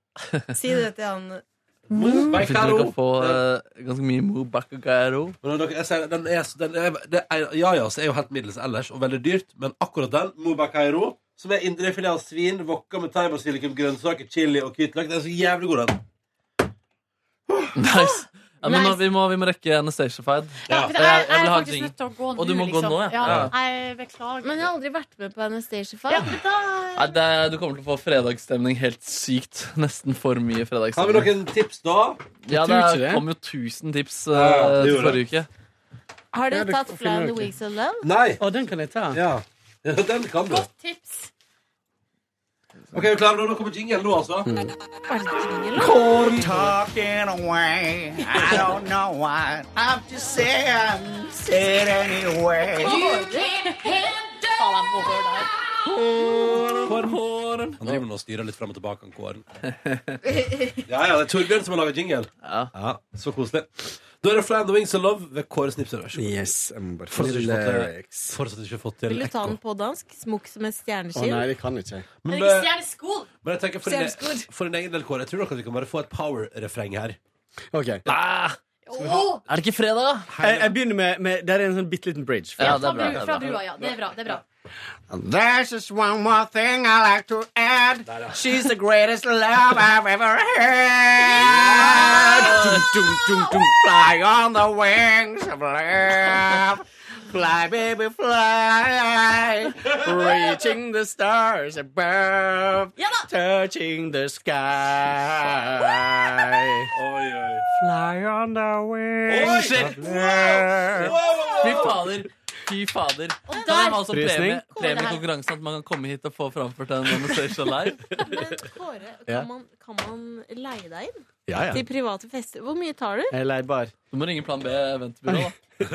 Si det til han Fikk dere Mm. ikke få eh, ganske mye Mo Bakagaro? Men dere, jeg sier, den er, så- den er, det er, ja, ja, så er jo helt middels ellers, og veldig dyrt, men akkurat den, Mubakairo, som er indrefilet av svin, wokka med thaim og silikon, grønnsaker, chili og hvitløk, den er så jævlig god, den. Nice. Ja, men nå, Nice. vi, må, vi må rekke Anastacia-fed. Ja, for jeg- jeg er faktisk nødt til å gå Og du nå, må liksom. gå nå, ja. Ja. Ja. Nei, beklager. Men jeg har aldri vært med på Anastacia Five. Nei, det, er- du kommer til å få fredagsstemning helt sykt. Nesten for mye Har vi fredagsstemning. noen tips da? Ja, Jeg tror ikke det det. kom jo 1000 tips eh, Ja, ja, det til gjorde forrige uke. Har du Ja, du tatt finner Fly on the ikke. Wings of Love? Nei. Å, den kan jeg ta. Ja, den kan du. Tips. Ok, er du klar nå? Nå kommer jingle nå, altså. Talking away, I don't know what I'm just saying. Say it anyway. Korn. Han driver nå og styrer litt frem og tilbake, han Kåren. Ja, ja, det er Torbjørn som har laget jingle. Ja. så koselig. Da er det Fly on the Wings of Love ved Kåre Snipser. Vær så god. Yes, jeg må bare Fortsatt finne ikke fått til, lyrics. fortsatt ikke fått til Vil du ta ekko. den på dansk? Smukk som en Å nei, stjerneskinn? det kan jeg ikke. Men, Men eh, ikke stjerneskol! Men jeg tenker for en, Stjerneskor. for en egen del, Kåre, jeg tror nok at vi kan bare få et power-refreng her. Ok. Er det ikke fredag, da? Jeg, jeg begynner med, med Der er en sånn bitte liten bridge. Ja, det det er bra, Fra brua, ja. Det er bra. det er bra There's just one more thing I like to add. She's the greatest love I've ever had. Dum, dum, dum, dum. Fly on the wings of love. Fly, baby, fly. Reaching the stars above. Touching the sky. Fly on the Oi, wings shit. of love. Fy fader. Fy fader. Kan der- jeg ha også Frysning. premie, premiekonkurransen at man kan komme hit og få framført en Anastacia live? Men Kåre, Ja. kan man, kan man leie deg inn? Ja, ja. Til private fester? Hvor mye tar du? Jeg er lei bar. Du må ringe Plan B eventbyrå, da.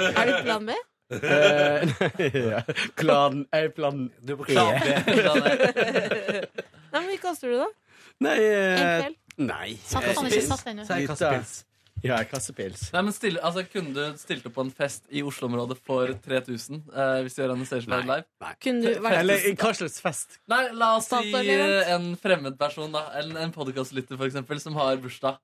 Er det plan B? Eh, ja. Klan Jeg er plan Du er på Klan B. Nei, men Hva koster du, da? Nei eh, En kveld? Nei. Satt han ikke satt ennå? Så er det kassepils. Ja, kassepils. Nei, men stille, altså, Kunne du stilt opp på en fest i Oslo-området for 3000 eh, hvis du gjør Anastacia Live live? Kunne du vært- Eller hva slags fest? Nei, la oss si Statoil eh, event? en fremmed person, da. En, en podkastlytter, for eksempel, som har bursdag.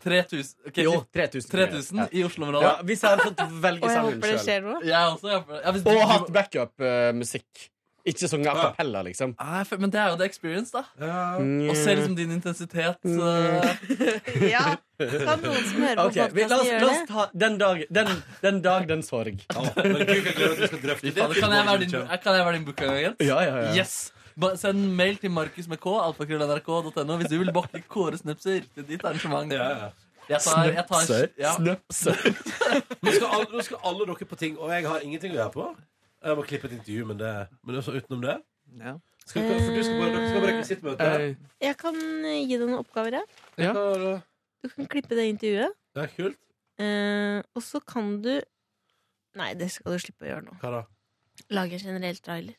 3000 ok, Jo, si- 3000. 3000 Ja. i Oslo-området. Ja, hvis jeg hadde fått velge Og jeg sangen håper det selv. skjer noe. Jeg også, jeg håper- ja, hvis du- Og du- hatt backup-musikk. Ikke sånn a cappella, liksom. Nei, for- Men det er jo the experience, da. Mm. Og se liksom din intensitet. Mm. eh. Ja. Kan noen som hører på Ok, vi- la oss- podcasten gjøre La oss ta Den dag, den, den, dag, den sorg. Fy faen, Kan jeg være din, kan jeg være din bookingagent? Ja, ja, ja. Yes! Ba, send mail til Markus med K, alfakrøll.nrk.no, hvis du vil booke Kåre Snøpser til ditt arrangement. Jeg tar, jeg tar, Snøpser? ja. Snøpser. Nå skal, alle, nå skal alle dere på ting, og jeg har ingenting å gjøre på. Jeg må klippe et intervju, men det, men det er så utenom det. Skal vi, for du skal på, dere skal på rekvisittmøte. det? Jeg kan eh, gi deg noen oppgaver, jeg. Ja. Du kan klippe det intervjuet. Det er kult. eh, og så kan du Nei, det skal du slippe å gjøre nå. Hva da? Lage en generell trailer.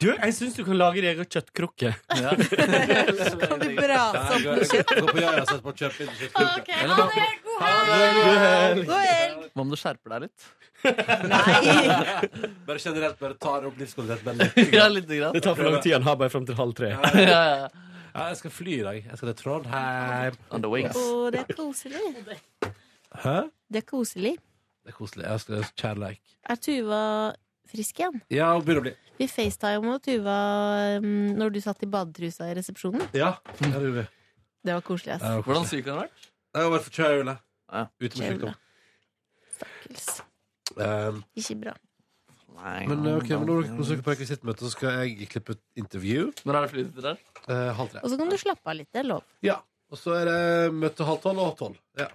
Du, jeg syns du kan lage din egen kjøttkrukke. Kan du brase opp noe kjøtt? Gå på Jaja og sett på Kjøp inn kjøttklubben. Ok, ha det! God helg! God helg! God helg! Hva om du skjerper deg litt? Bare generelt, bare tar opp livskvalitet bare litt. sånn, Ja, litt grann. Det tar for lang tid. Han har bare fram til halv tre. Ja, Ja, jeg skal fly i dag. Jeg skal til Trondheim. On the wings. Og det er koselig. Hæ? Det er koselig. Det er koselig. Jeg skal kjærleik. Er Tuva frisk igjen? Ja, hun begynner å bli. Vi facetima Tuva mm, når du satt i badetrusa i resepsjonen. Ja, det gjør vi. Det var koselig, ass. Hvordan syk har han vært? Jeg har vært forkjøla. Ute med Kjøla. sykdom. Stakkels. Um, Ikke bra. Men, eh, ok, men når dere søker på rekvisittmøte, så skal jeg klippe et intervju. Når er det flytid der? Eh, halv tre. Og så kan du slappe av litt. Det er lov. Ja. Og så er det møte halv tolv og halv tolv. Ja.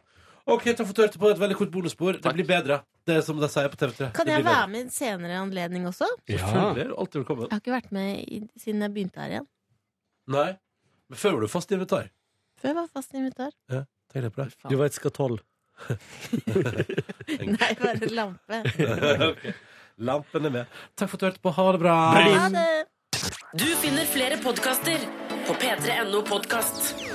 OK, takk for at du hørte på et veldig kort bonusspor. Det blir bedre. Det er som de sier på TV3. Kan jeg være med i en senere anledning også? Ja. Selvfølgelig. Du er Alltid velkommen. Jeg har ikke vært med i, siden jeg begynte her igjen. Nei. Men før var du fast invitar. Før jeg var fast invitar. Ja, tenk deg på det. Du vet skatoll. Nei, bare en lampe. Ok. Lampen er med. Takk for at du hørte på. Ha det bra. Du finner flere podkaster på p3.no podkast.